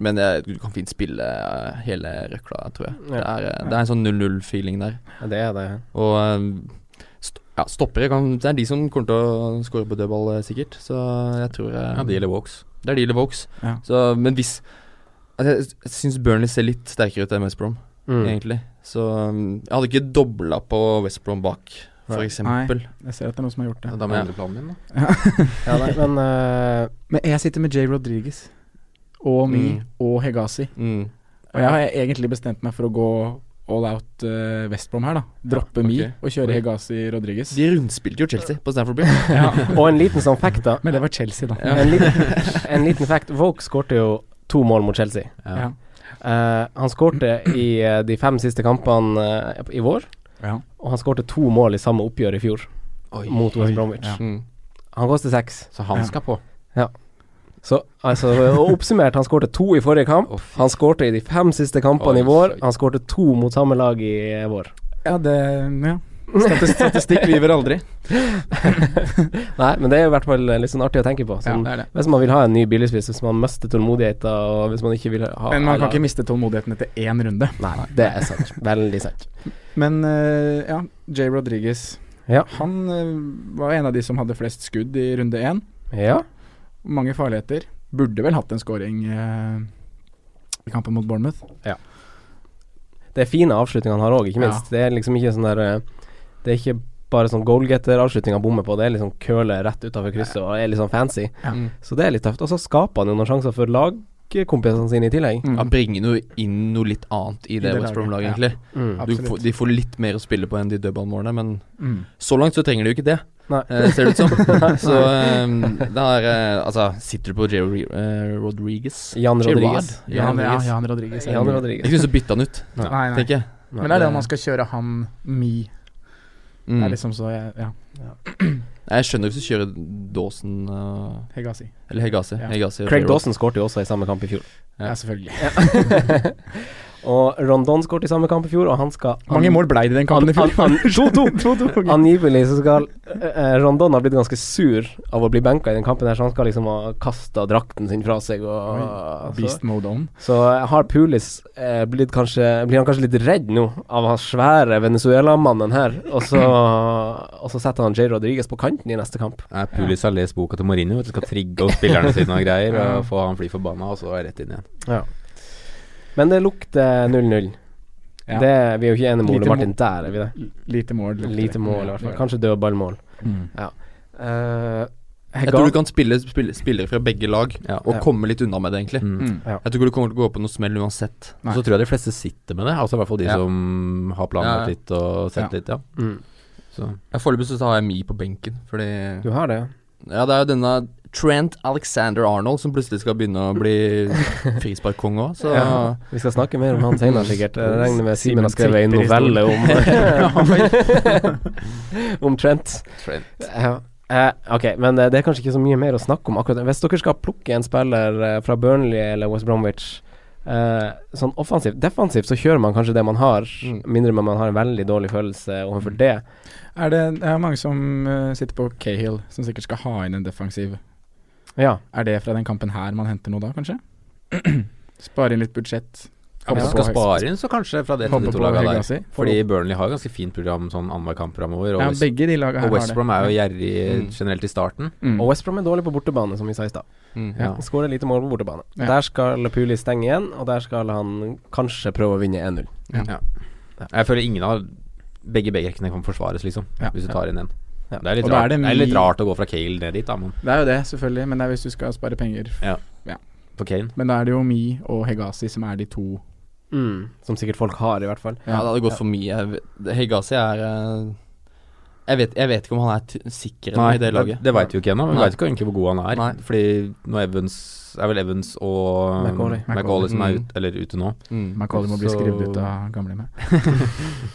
men jeg, du kan fint spille eh, hele røkla, tror jeg. Det, Ja. er, eh, det er en sånn 0-0-feeling der. Ja, det er det. Og eh, st ja, stoppere kan Det er de som kommer til å skåre på dødball, eh, sikkert. Så jeg tror eh, Ja, de eller walks. Det er de eller walks. Ja. Så, men hvis altså, Jeg, jeg syns Burnley ser litt sterkere ut enn West Brom, Mm. egentlig. Så mm, jeg hadde ikke dobla på West Brom bak, for Nei. eksempel. Nei, jeg ser at det er noen som har gjort det. Ja, da må Ja. jeg endre planen min, da. Ja, nei, men eh, Men jeg sitter med Jay Rodriguez og Me Mm. og Hegazi. Mm. Og jeg har egentlig bestemt meg for å gå all out eh, West Brom her, da. Droppe ok. Me og kjøre Oi. Hegazi Rodriguez. De rundspilte jo Chelsea på Stanford Bridge. Og en liten sånn fact, da. Men det var Chelsea, da. En, liten, en liten fact. Vogue skårte jo to mål mot Chelsea. Ja. Eh, han skårte i eh, de fem siste kampene eh, i vår, Ja. og han skårte to mål i samme oppgjør i fjor, mot West Bromwich. Ja. Mm. Han koster seks. Så han Ja. skal på. Så altså, og oppsummert, han skårte to i forrige kamp. Å, fy. Han skårte i de fem siste kampene Oi, i vår. søt. Han skårte to mot samme lag i eh, vår. ja, det Ja. Statis- Statistikk lyver aldri. Nei, men det er jo i hvert fall litt sånn artig å tenke på. Sånn, Ja, det er det. Hvis man vil ha en ny billigspiss, hvis man mister tålmodigheten, og hvis man ikke vil ha Men man kan ikke miste tålmodigheten etter én runde. Nei, det er sant. Veldig sant. Men eh, ja, Jay Rodriguez. Ja. Han eh, var en av de som hadde flest skudd i runde én. Ja. Mange farligheter. Burde vel hatt en scoring eh, i kampen mot Bournemouth. Det er fine avslutninger han har òg, ikke Ja. minst. Det er liksom ikke sånn der eh, Det er ikke bare sånn goalgetter-avslutning han bommer på, det er liksom curler rett utafor krysset og er litt sånn fancy. Ja. Mm. Så det er litt tøft. Og så skaper han jo noen sjanser for lagkompisene sine i tillegg. Mm. Han bringer jo inn noe litt annet i det, det West laget, Brom-laget, ja. egentlig. Mm. Du Absolutt. får, de får litt mer å spille på enn de dødballmålene, men Mm. så langt så trenger de jo ikke det, Nei. eh, ser det ut som. så um, det er eh, Altså, sitter du på Jerry eh, Rodriguez? Jan Rodriguez. Gerard? Jan Rodriguez. Ehm, Jan Rodriguez. Jan Jeg Rodriguez. kunne så bytte han ut, Nei, nei. tenker jeg. Men det er det om man skal kjøre han me. Mm. Det er liksom så jeg, Ja, Jeg skjønner hvis du kjører Dawson eh, Hegasi. Eller Hegasi. Ja. Hegasi og Craig Gerrard. Dawson skårte jo også i samme kamp i fjor. Ja. Ja. selvfølgelig. og Rondon skårte i samme kamp i fjor, og han skal Mange mål blei det i den kampen i an- fjor? an- 2-2. 2-2. Angivelig så skal eh, eh, Rondon har blitt ganske sur av å bli benka i den kampen, her så han skal liksom ha kasta drakten sin fra seg. Og, Oi, så, altså. Beast mode on. Så har Pulis eh, blitt kanskje Blir han kanskje litt redd nå av han svære Venezuela-mannen her, og så, og så setter han Jay Rodriguez på kanten i neste kamp. Nei, Pulis har lest boka til Mourinho, vet du, skal trigge opp spillerne sine og greier, Ja. og få han fly forbanna, og så rett inn igjen. Men det lukter 0-0. Ja. Det, vi er jo ikke enige med Lite Ole Martin mål. der, er vi det? Lite mål. Lite mål, i hvert fall. Kanskje dødballmål. Mm. Eh, Jeg tror du kan spille, spille spillere fra begge lag Ja. og Ja. komme litt unna med det, egentlig. Mm. Mm. Jeg tror ikke du kommer til å gå på noe smell uansett. Nei. Så tror jeg de fleste sitter med det, altså i hvert fall de Ja. som har planlagt Ja, ja. litt og sett Ja. litt, ja. Mm. Så. Jeg Foreløpig så har jeg Mi på benken, fordi Du har det, Ja, det er jo denne Trent Alexander Arnold som plutselig skal begynne å bli frisparkkonge òg, så ja. Vi skal snakke mer om han senere, sikkert. Jeg regner med Simen har skrevet en Tipper i stolen. novelle om Om Trent. Trent. Ja. Eh, ok, men eh, det er kanskje ikke så mye mer å snakke om akkurat Hvis dere skal plukke en spiller eh, fra Burnley eller West Bromwich eh, Sånn offensivt Defensivt så kjører man kanskje det man har, Mm. mindre men man har en veldig dårlig følelse overfor det. Er det, det er mange som eh, sitter på Cahill, som sikkert skal ha inn en defensiv. Ja. Er det fra den kampen her man henter noe da, kanskje? Spare inn litt budsjett. Ja, hvis du skal spare inn, så kanskje fra det til de Håper to på lagene der. Hegazi. Fordi Burnley har ganske fint program sånn annenhver kamp framover, og, Ja, West- begge de laga her og West Brom er jo gjerrig Mm. generelt i starten. Mm. Og West Brom er dårlig på bortebane, som vi sa i stad. mm. Ja. Skårer lite mål på bortebane. Ja. Der skal Puli stenge igjen, og der skal han kanskje prøve å vinne 1-0. Jeg føler ingen av begge backrekkene kan forsvares, liksom, Ja. hvis du tar inn en. Ja. Det, er litt Og da er rart, det det, er litt mye- rart å gå fra Kale ned dit, da, men Det er jo det, selvfølgelig, men det er hvis du skal spare penger. på Kane Men da er det jo Mi og Hegazi som er de to Mm. Som sikkert folk har, i hvert fall. Ja, det hadde gått for mye. Jeg vet- Hegasi er eh, Jeg vet, jeg vet ikke om han er t sikker Nei, i det laget. Det, det veit vi jo ikke ennå. Vi Nei. veit ikke egentlig hvor god han er. Nei. Fordi nå Evans er vel Evans og um, Macaulay. Macaulay som er Mm. ut, eller ute nå. Mm. Macaulay må bli Så- skrevet ut av gamle med.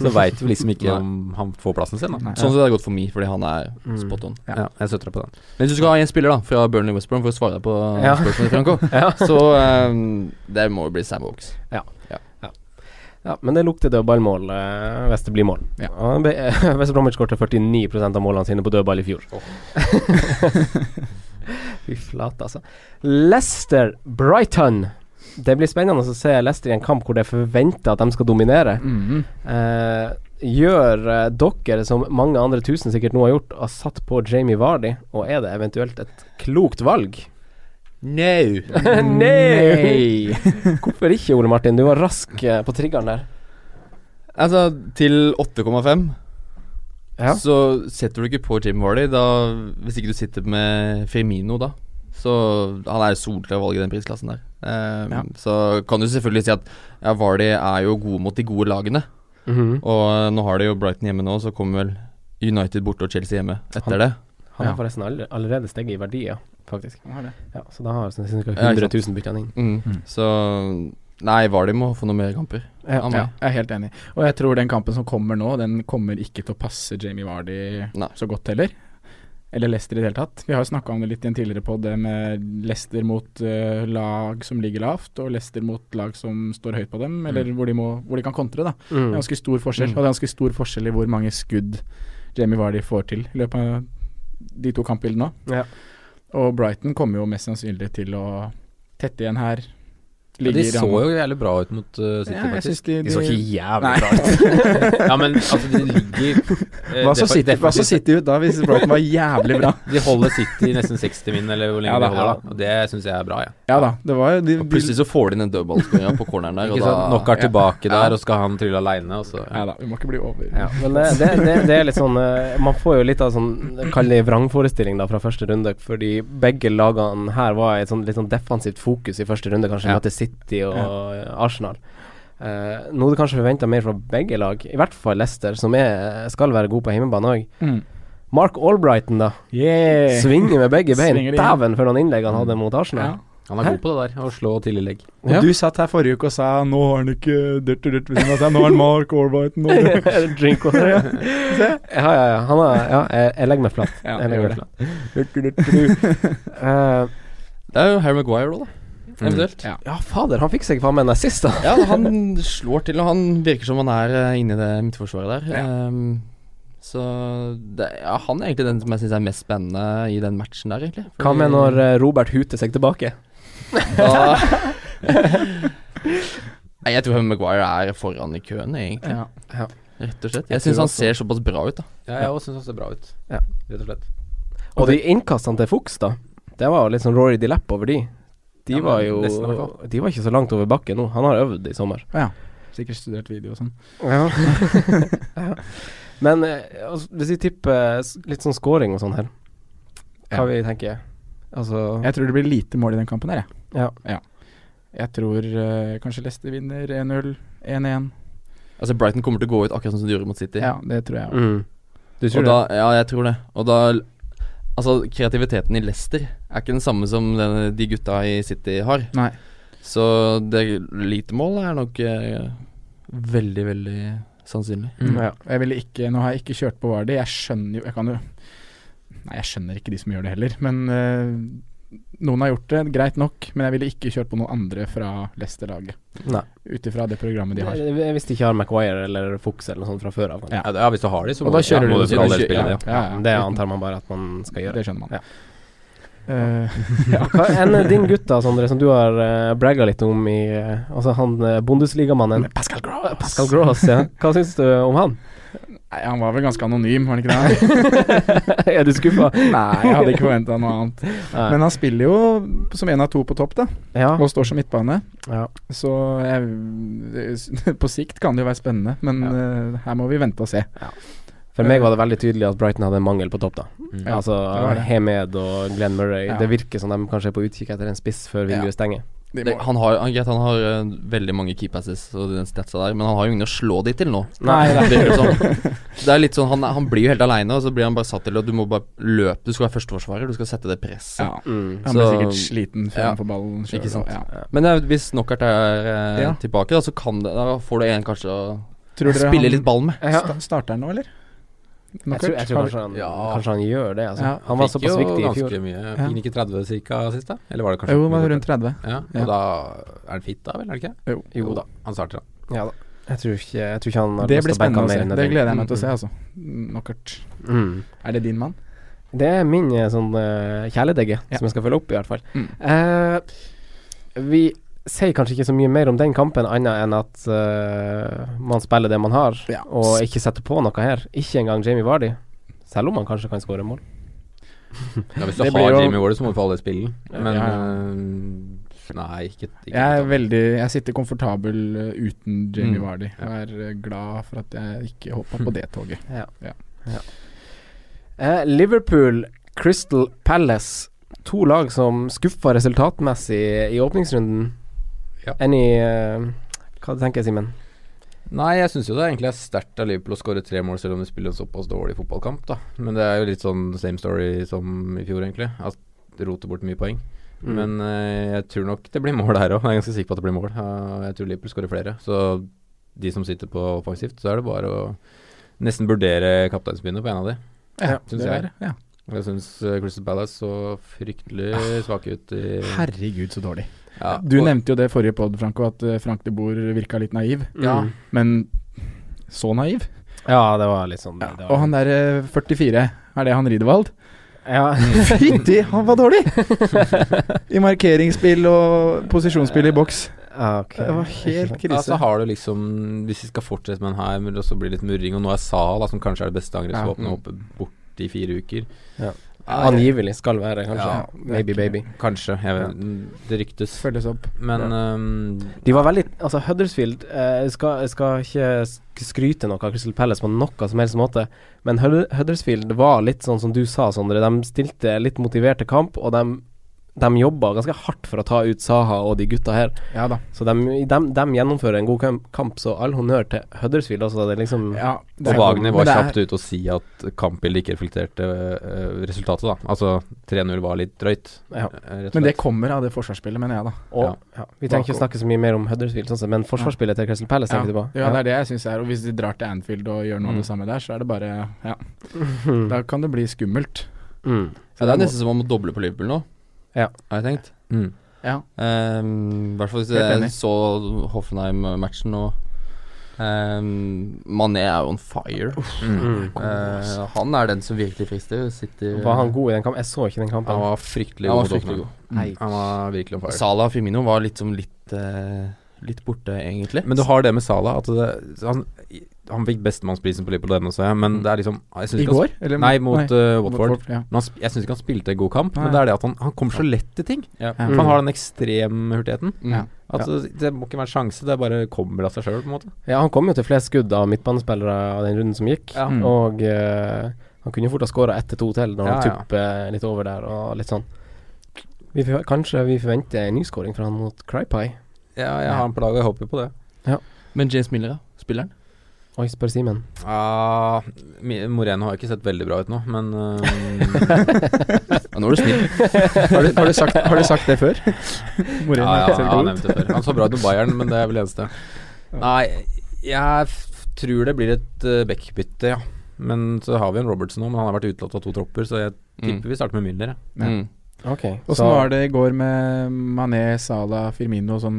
Så veit vi liksom ikke Nei. om han får plassen sin. Da. Mm. Nei. Sånn som det har gått for meg, fordi han er spot on. Ja. jeg støtter deg på den. Men hvis du skal ha en spiller da fra Burnley West Brom for å svare på uh, Ja. spørsmålet, Franco, Ja. så ehm, det må jo bli Sam Oaks. Ja, men det lukter dødballmål eh, hvis det blir mål. Ja. Og be- West Bromwich skåret 49 av målene sine på dødball i fjor. Fy flate, altså. Leicester Brighton. Det blir spennende å se Leicester i en kamp hvor det er forventa at de skal dominere. Mhm. Eh, gjør eh, dere som mange andre tusen sikkert nå har gjort, og satt på Jamie Vardy, og er det eventuelt et klokt valg? No. Nei! Hvorfor ikke, Ole Martin? Du var rask eh, på triggeren der. Altså, til 8,5 Ja. så setter du ikke på Jim Vardy da, hvis ikke du sitter med Firmino, da. Så han er solklar valg i den prisklassen der. Ehm, Ja. Så kan du selvfølgelig si at ja, Vardy er jo gode mot de gode lagene. Mhm. Og eh, nå har de jo Brighton hjemme nå, så kommer vel United borte og Chelsea hjemme etter Han- det. Han har Ja. forresten all- allerede steget i verdi, ja, faktisk. Han har det. Ja, så da har ca. 100 Ja, ikke 000 bytta han inn. Mm. Mm. Så Nei, Vardy må få noen mer kamper. Ja, Han må. Ja, jeg er helt enig. Og jeg tror den kampen som kommer nå, den kommer ikke til å passe Jamie Vardy Nei. så godt heller. Eller Leicester i det hele tatt. Vi har jo snakka om det litt i en tidligere podd, det med Leicester mot eh, lag som ligger lavt, og Leicester mot lag som står høyt på dem, eller hvor, de må, hvor de kan kontre, da. Det er Mm. ganske stor forskjell. Mm. Og det er ganske stor forskjell i hvor mange skudd Jamie Vardy får til i løpet av de to kampbildene nå. Ja. Og Brighton kommer jo mest sannsynlig til å tette igjen her. Ja, de Ligger i så rammen. jo jævlig bra ut mot uh, City, Ja, jeg faktisk. synes de- så de- ikke jævlig Nei. bra ut. ja, men altså, de ligger eh, Hva så defa- sitter, hva så defensivt- sitter ut da hvis Brighton var jævlig bra? De holder City nesten 60 min, eller hvor lenge Ja da, de ja holder. da. da. Og det syns jeg er bra, jeg. Ja da, det var jo de, Og plutselig så får de inn en dødballskåring på corneren der, og Ikke da sant? Nok er ja. tilbake Ja. der, og skal han trylle aleine, og så Ja da, vi må ikke bli over. Ja, men det, det, det, det er litt sånn eh, Man får jo litt av sånn Kall det vrangforestilling da fra første runde, fordi begge lagene her var i et sånn litt sånn defensivt fokus i første runde, kanskje Ja. møte City og Arsenal. Eh, noe du kanskje forventa mer fra begge lag, i hvert fall Leicester, som er, skal være god på hjemmebane òg. Mm. Mark Albrighton, da. Yeah! Svinger med begge bein. Svinger inn. Mm. Dæven for noen innlegg han hadde mot Arsenal. Ja. Han er god på det der, å slå tidliglegg. Og du satt her forrige uke og sa nå har han ikke dørt og dørt ved siden av seg, nå har han Mark Albrighton og dørt. Drink water, ja. ja, ja, ja. Han er, ja jeg, jeg legger meg flatt. Ja, jeg jeg legger gjør meg flatt. Eh, Det er jo Harry Maguire òg, da. Eventuelt. Mm. Ja. ja, fader, han fikk seg faen meg en assist, da. Ja, han slår til, og han virker som han er eh, inne i det midtforsvaret der. Ehm, så det, ja, han er egentlig den som jeg syns er mest spennende i den matchen der, egentlig. Fordi- Hva med når eh, Robert huter seg tilbake? Da- Nei, jeg tror Harry Maguire er foran i køen, egentlig. Ja. Rett og slett. Jeg Jeg syns tror han også. ser såpass bra ut, da. Ja, jeg òg syns han ser bra ut, Ja. rett og slett. Og de innkastene til Fuchs, da. Det var jo litt sånn Rory Dilapp over de. De Ja, men var jo nesten i hvert De var ikke så langt over bakken nå. Han har øvd i sommer. ja. Sikkert studert video og sånn. Ja. Men eh, altså, hvis vi tipper s- litt sånn scoring og sånn her, hva Ja. vi tenker Altså Jeg tror det blir lite mål i den kampen her, jeg. Ja. Jeg tror eh, kanskje Leicester vinner 1-0, 1-1. Altså Brighton kommer til å gå ut akkurat som de gjorde mot City. Ja, det tror jeg også. mm. Du tror Og det? da, ja, jeg tror det. Og da Altså, kreativiteten i Leicester er ikke den samme som den, de gutta i City har. Nei. Så det lite mål er nok eh, veldig, veldig sannsynlig. Mm. Ja. Jeg ville ikke, nå har jeg ikke kjørt på Vardy. Jeg skjønner jo Jeg kan jo Nei, jeg skjønner ikke de som gjør det heller, men eh, noen har gjort det, greit nok. Men jeg ville ikke kjørt på noen andre fra Leicester-laget. Nei. Ut ifra det programmet de har. Jeg- jeg- Hvis de ikke har Maguire eller Fuchs eller noe sånt fra før av. Ja. Ja, det- ja hvis du har de, så Og da kjører må du du for all del spille ja. det. Ja, ja. Det antar man bare at man skal gjøre. Det skjønner man. Ja. Eh, Hva enn eh, din gutt da, Sondre, som du har uh, bragga litt om i eh, Altså han uh, Bundesligamannen Eh, Pascal Gross. Pascal Gross, ja. Hva syns du om han? Nei, han var vel ganske anonym, var han ikke det? er du skuffa? Nei, jeg hadde ikke forventa noe annet. Nei. Men han spiller jo som en av to på topp, da. Ja. Og står som midtbane. ja. Så jeg, på sikt kan det jo være spennende, men eh, her må vi vente og se. For meg var det veldig tydelig at Brighton hadde en mangel på topp, da. Ja, altså det var det. Hemed og Glenn Murray. Ja. Det virker som de kanskje er på utkikk etter en spiss før vinduet Ja. stenger. De det, må- han har, han, greit, han har eh, veldig mange key passes og den statsa der, men han har jo ingen å slå de til nå. Nei, det er- det, er jo sånn, det er litt sånn han, han blir jo helt aleine, og så blir han bare satt til at du må bare løpe. Du skal være førsteforsvarer, du skal sette det presset. Ja. Han blir sikkert sliten før han får ballen selv, Ikke sant. og- ja. Men eh, hvis Knockert er eh, Ja. tilbake, da, så kan det, da får du en kanskje å Tror dere spille han litt ball med. sta- Starter han nå, eller? Jeg tror, jeg tror Har- kanskje, han, Ja. kanskje han gjør det. Altså. Ja. Han var såpass viktig i Fikk jo fjor. ganske mye. Ja. Fikk han ikke 30 cirka sist, da? Eller var det kanskje Jo, han var akkurat rundt 30. det? Ja, og Ja. da er han fit, da vel? Er det ikke? Jo. Jo da. Han starter, da. Ja, da. Jeg, tror ikke, jeg tror ikke han har Det lyst blir til å backe spennende han mer å se. enn Mm. Det nødvendig. gleder jeg meg til å se, altså. Knockert. Mm. Er det din mann? Det er min eh, sånn eh, kjæledegge Ja. som jeg skal følge opp, i hvert fall. Mm. Eh, vi sier kanskje ikke så mye mer om den kampen, annet enn at eh, man spiller det man har, Ja. og ikke setter på noe her. Ikke engang Jamie Vardy, selv om han kanskje kan skåre mål. Ja, hvis Det du har blir jo- Jamie Wardy, så må du få alle spille den. Men Ja, øh, Nei, ikke, ikke Jeg er veldig Jeg sitter komfortabel uh, uten Jamie Mm. Vardy. Jeg er uh, glad for at jeg ikke hoppa på det toget. Eh, Liverpool, Crystal Palace. To lag som skuffa resultatmessig i åpningsrunden. Ja. Any eh, Hva tenker jeg, Simen? Nei, jeg syns jo det egentlig er sterkt av Liverpool å skåre tre mål, selv om de spiller en såpass dårlig fotballkamp, da. Men det er jo litt sånn same story som i fjor, egentlig. At det roter bort mye poeng. Mm. Men eh, jeg tror nok det blir mål her òg. Jeg er ganske sikker på at det blir mål. Eh, jeg tror Liverpool skårer flere. Så de som sitter på offensivt, så er det bare å nesten vurdere kapteinsbindet på en av de. Ja, Synes det jeg. er- Ja. Jeg syns Crystal Palace så fryktelig svake ut i Herregud, så dårlig. ja, Ah, Du og- nevnte jo det i forrige pod, Franco, at uh, Frank de Boer virka litt naiv. Mm. Ja. Men så naiv? Ja, det var litt sånn det var- Og han der uh, 44, er det han Ridevald? ja. Mm. Fytti, han var dårlig! I markeringsspill og posisjonsspill i boks. Ja, ok. Det var helt Ja, så krise. har du liksom Hvis vi skal fortsette med den her, men det også blir litt murring, og nå er Saha, da, som kanskje er det beste angrepsvåpenet, Ja. oppe bort i fire uker. Ja. Nei, Angivelig skal være, kanskje. Ja, Maybe baby. kanskje. Jeg vet, det ryktes. Følges opp. Men ehm, øhm, De var veldig Altså, Huddersfield eh, skal, jeg skal ikke sk- skryte noe av Crystal Palace på noe som helst måte, men Hud- Huddersfield var litt sånn som du sa, Sondre. De stilte litt motiverte kamp, og de, de jobba ganske hardt for å ta ut Saha og de gutta her. Ja da. Så de, de, de gjennomfører en god kam- kamp, så all honnør til Huddersfield også. Det er liksom Ja, Og det er- Wagner men var det er- kjapt ute og si at kampbildet ikke reflekterte øh, resultatet, da. Altså 3-0 var litt drøyt. Ja. øh, rett og Men det slett. kommer av det forsvarsspillet, mener jeg, da. Og ja, vi trenger ikke Bak- snakke så mye mer om Huddersfield, sånn sett, men forsvarsspillet til Crystal Palace, tenker du på? Ja, det er det jeg syns er. Og hvis de drar til Anfield og gjør noe av det samme der, så er det bare Ja. Da kan det bli skummelt. Mm. Ja, det er nesten som om man må doble på Liverpool nå, Ja. har jeg tenkt. Mm. Ja. Ehm, I hvert fall hvis Helt jeg enig. så Hoffenheim-matchen og ehm, Mané er jo on fire. Mm. Eh, han er den som virkelig frister. Sitter Var han god i den kampen? Jeg så ikke den kampen. Han var fryktelig Han var god. mot fryktelig Dortmund. Nei. Mm. Han var virkelig on fire. Salah og Firmino var litt som litt eh, Litt borte, egentlig. Men du har det med Salah at det, han, han fikk bestemannsprisen på Liverpool denne, så jeg, men Mm. det er liksom jeg synes I ikke han går? Eller, Nei, mot eh, Watford. Ja. Men han, sp- jeg syns ikke han spilte en god kamp, Nei. men det er det at han, han kommer så lett til ting. Ja. Ja. For han har den ekstremhurtigheten. Mm. Ja. At det, det må ikke være en sjanse, det bare kommer av seg sjøl, på en måte. Ja, han kom jo til flest skudd av midtbanespillere av den runden som gikk, Ja. Mm. og eh, han kunne jo fort ha skåra ett til to til når han Ja, ja. tupper eh, litt over der og litt sånn. Vi for, kanskje vi forventer en nyskåring fra han mot Crypie. Ja, jeg har en plage, jeg håper på det. Men James Miller, ja. Spilleren. Oi, spør Simen. Ah, Mi- Moreno har ikke sett veldig bra ut nå, men eh, øhm, Ja, nå er du snill. Har, du, har, du sagt, har du sagt det før? Ja, Moreno ja, ikke ja, selv han god ut. nevnte det før. Han så bra ut med Bayern, men det er vel det eneste. Nei, jeg f- tror det blir et uh, backbytte, ja. Men så har vi en Robertson nå, men han har vært utelatt av to tropper, så jeg tipper vi starter med Milner. jeg. Ja. Mm. Ok. Åssen var det i går med Mané, Salah, Firmino og sånn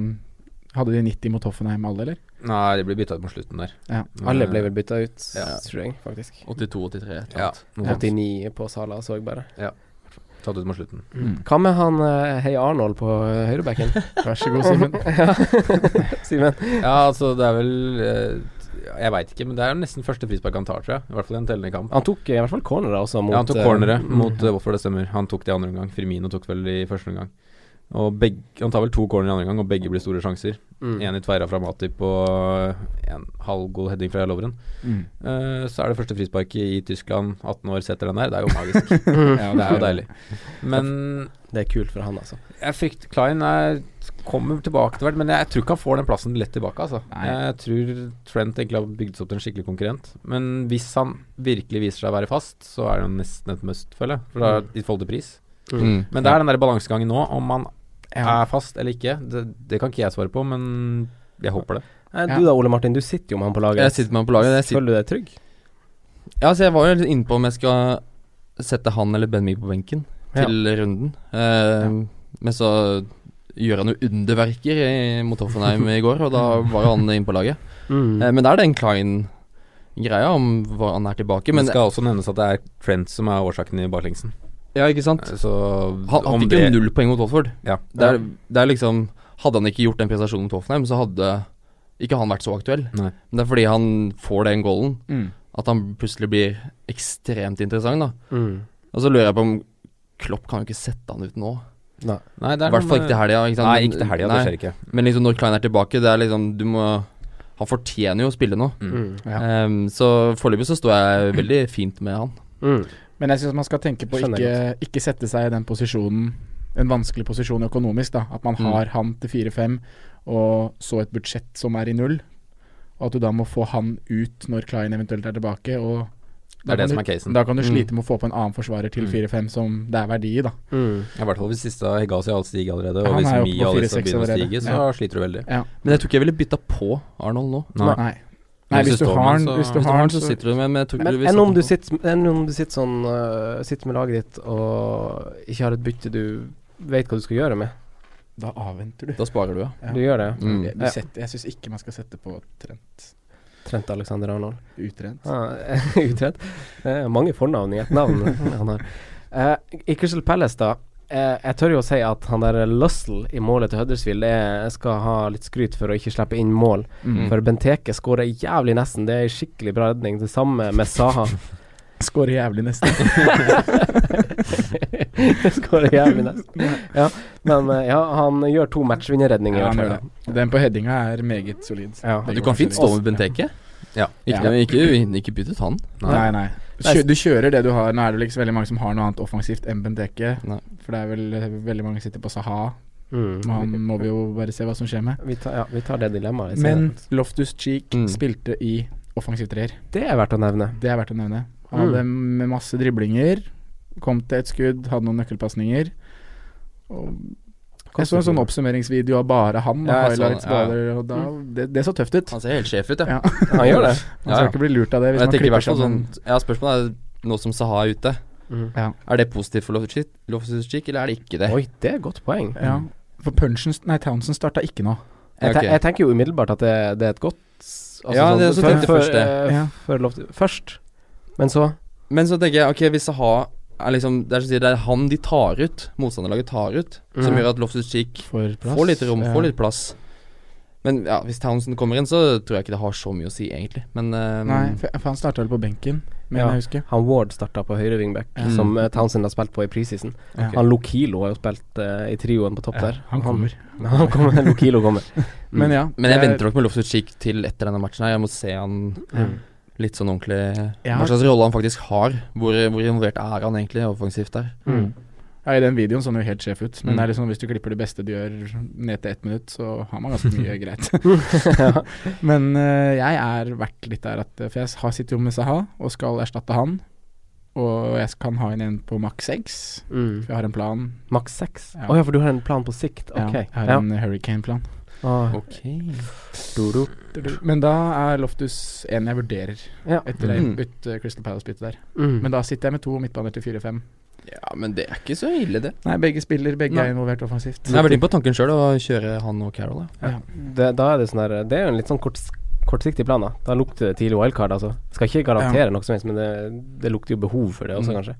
Hadde de 90 mot Hoffenheim alle, eller? Nei, de blir bytta ut på slutten der. Ja. Alle ble vel bytta ut, Ja. tror jeg, faktisk. 82-83, et eller Ja, annet. noe sånt. 89 på Sala, så jeg bare. Tatt ut mot slutten. Hva med han eh, Hei Arnold på eh, høyrebacken? Mm. Vær så god, Simen. Simen. Ja, altså, det er vel eh, Jeg veit ikke, men det er jo nesten første frispark han tar, tror jeg. I hvert fall i en tellende kamp. Han tok eh, i hvert fall cornere også mot ja, han tok eh, cornere mm. mot uh, Watford, det stemmer. Han tok det i andre omgang. Firmino tok vel i første omgang. Og begge, han tar vel to corner i andre omgang, og begge blir store sjanser. Mm. En i tverra fra Matip og en halvgod heading fra Lovren. Mm. Eh, så er det første frisparket i Tyskland, 18 år, setter den der. Det er jo magisk. Ja, det er jo deilig. Men Det er kult for han, altså. Jeg frykter Klein er, kommer tilbake til hvert, men jeg tror ikke han får den plassen lett tilbake. Altså. Jeg tror Trent egentlig har bygd seg opp til en skikkelig konkurrent. Men hvis han virkelig viser seg å være fast, så er det jo nesten et must, føler jeg. For da, I forhold til pris. Mm. Men det er den der balansegangen nå, om han er fast eller ikke. Det, det kan ikke jeg svare på, men Mm, jeg håper det. Nei, Ja. Du da, Ole Martin, du sitter jo med han på laget. Jeg sitter med han på laget. Jeg sitter, Føler du deg trygg? ja, så jeg var jo litt inne på om jeg skal sette han eller Benmi på benken til runden. Eh, Men så gjør han jo underverker i, mot Hoffenheim i går, og da var jo han inne på laget. Eh, Men det er den Klein-greia om hva han er tilbake. Men Men det skal også nevnes at det er Trent som er årsaken i baklengsen. ja, ikke sant? Eh, Så Han, han fikk jo null poeng mot Watford. Ja. Det er, det er liksom Hadde han ikke gjort den prestasjonen mot Hoffenheim, så hadde ikke han vært så aktuell. Nei. Men det er fordi han får den goalen Mm. at han plutselig blir ekstremt interessant, da. Mm. Og så lurer jeg på om Klopp kan jo ikke sette han ut nå. Nei, det I er hvert fall noe ikke til helga. ikke sant? Nei, ikke til helga. Det Nei. skjer ikke. Men liksom når Klein er tilbake, det er liksom Du må Han fortjener jo å spille nå. Mm. Ja. Ehm, så foreløpig så står jeg veldig fint med han. Mm. Men jeg syns man skal tenke på å Skjønner ikke, ikke sette seg i den posisjonen, en vanskelig posisjon økonomisk, da. At man Mm. har han til 4-5, og så et budsjett som er i null. Og at du da må få han ut når Klein eventuelt er tilbake. Og Det er det kan som er du, casen. da kan du Mm. slite med å få på en annen forsvarer til Mm. 4-5 som det er verdi i, da. Mm. Ja, I hvert fall hvis siste hegga si alt stiger allerede, og Han hvis er jo oppe Mia på og Alisa 4-6 begynner å allerede. stige, så Ja. sliter du veldig. Men jeg tror ikke jeg ville bytta på Arnold nå. Nei. Nei. Nei, Hvis hvis du du står har med, han, så- hvis du Hvis du har han, så så sitter du med, men jeg tror ikke Men du vil enn sette om, han du på. sitter, enn om du sitter sånn øh, Sitter med laget ditt og ikke har et bytte du vet hva du skal gjøre med. Da avventer du. Da sparer du, ja. Ja. Du gjør det, ja. Mm. Jeg- du Ja. setter, jeg syns ikke man skal sette på Trent Trent Alexander Arnold. utrent. Ah, Utrent. Det er mange fornavn i ett navn han har. Eh, I Crystal Palace, da. eh, jeg tør jo å si at han der Lussell i målet til Huddersfield det er- skal ha litt skryt for å ikke slippe inn mål. Mm. For Benteke skårer jævlig nesten. Det er en skikkelig bra redning. Det samme med Saha. Skårer jævlig neste. skårer jævlig nesten. Ja, men eh, ja, han gjør to matchvinnerredninger. i Ja, han hvert gjør fall, det. Den på headinga er meget solid. Ja. Begge Du kan fint stå var med solid. Benteke. Ja. Ikke, Ja. ikke, ikke bytt ut han. Nei, nei. Du kjø- du kjører det du har. Nå er det liksom veldig mange som har noe annet offensivt enn Benteke. Nei. For det er vel eh, veldig mange som sitter på Saha. Mm. Man må vi jo bare se hva som skjer med. Vi tar, ja, vi tar det dilemmaet. litt senere. Men Loftus Cheek Mm. spilte i offensiv treer. det er verdt å nevne. Det er verdt å nevne. Han hadde Mm. med masse driblinger. Kom til et skudd, hadde noen nøkkelpasninger. Og jeg så en sånn oppsummeringsvideo av bare han. Ja, Ja, jeg så highlights, den, ja, ja. bare, og da, det, det så tøft ut. Han ser helt sjef ut, Ja. ja. Han gjør det. Man skal ja. ikke bli lurt av det Og hvis Jeg man tenker i klipper hvert fall sånn sammen. Ja, spørsmålet er nå som Saha er ute, Ja. er det positivt for Loftus-Cheek, eller er det ikke det? Oi, det er et godt poeng. Ja. For Punchen Nei, Townsend starta ikke nå. Jeg, Ja, te ok. jeg tenker jo umiddelbart at det, det er et godt altså Ja, sånn- det er så før- tenkte jeg før, først det. eh, Ja. før Loftus- først, men så Men så tenker jeg, ok, hvis Saha er liksom Det er, som sier, det er han de tar ut, motstanderlaget tar ut, som Mhm. gjør at Loftus-Cheek For plass. får litt rom, Ja. får litt plass. Men ja, hvis Townsend kommer inn, så tror jeg ikke det har så mye å si, egentlig. Men eh, Nei, for for han starta vel på benken, men Ja. jeg husker. han Ward starta på høyre wingback, Mm. som eh, Townsend har spilt på i preseason. Ja. Han Lokilo har jo spilt eh, i trioen på topp der. Han kommer. Han kommer, Lokilo kommer. Men ja. Men jeg det er- venter nok med Loftus-Cheek til etter denne matchen. her Jeg må se han Mm. litt sånn ordentlig Ja. Hva slags rolle han faktisk har. Hvor, hvor involvert er han egentlig offensivt der? Mm. Ja, I den videoen så han jo helt sjef ut, men Mm. det er liksom, hvis du klipper det beste du gjør ned til ett minutt, så har man ganske mye greit. men eh, jeg er vært litt der at eh, For jeg har sitter jo med Saha og skal erstatte han. Og jeg kan ha inn en på maks seks, Mm. for jeg har en plan. Maks seks. Å Ja. ja. for du har en plan på sikt? Ok. Ja, jeg har Ja. en hurricane-plan. Ah, Ok Dodo. Men da er Loftus en jeg vurderer, Ja. etter det Mm. bytte Crystal Palace-byttet der. Mm. Men da sitter jeg med to midtbaner til 4-5. Ja, men det er ikke så ille, det. Nei, begge spiller, begge Nei. er involvert offensivt. Jeg har vært inne på tanken sjøl å kjøre han og Carol. Ja. det, da er det sånn der Det er jo en litt sånn korts, kortsiktig plan, da. Da lukter det tidlig wildcard, altså. Skal ikke garantere noe som helst, men det, det lukter jo behov for det også, Mm. kanskje.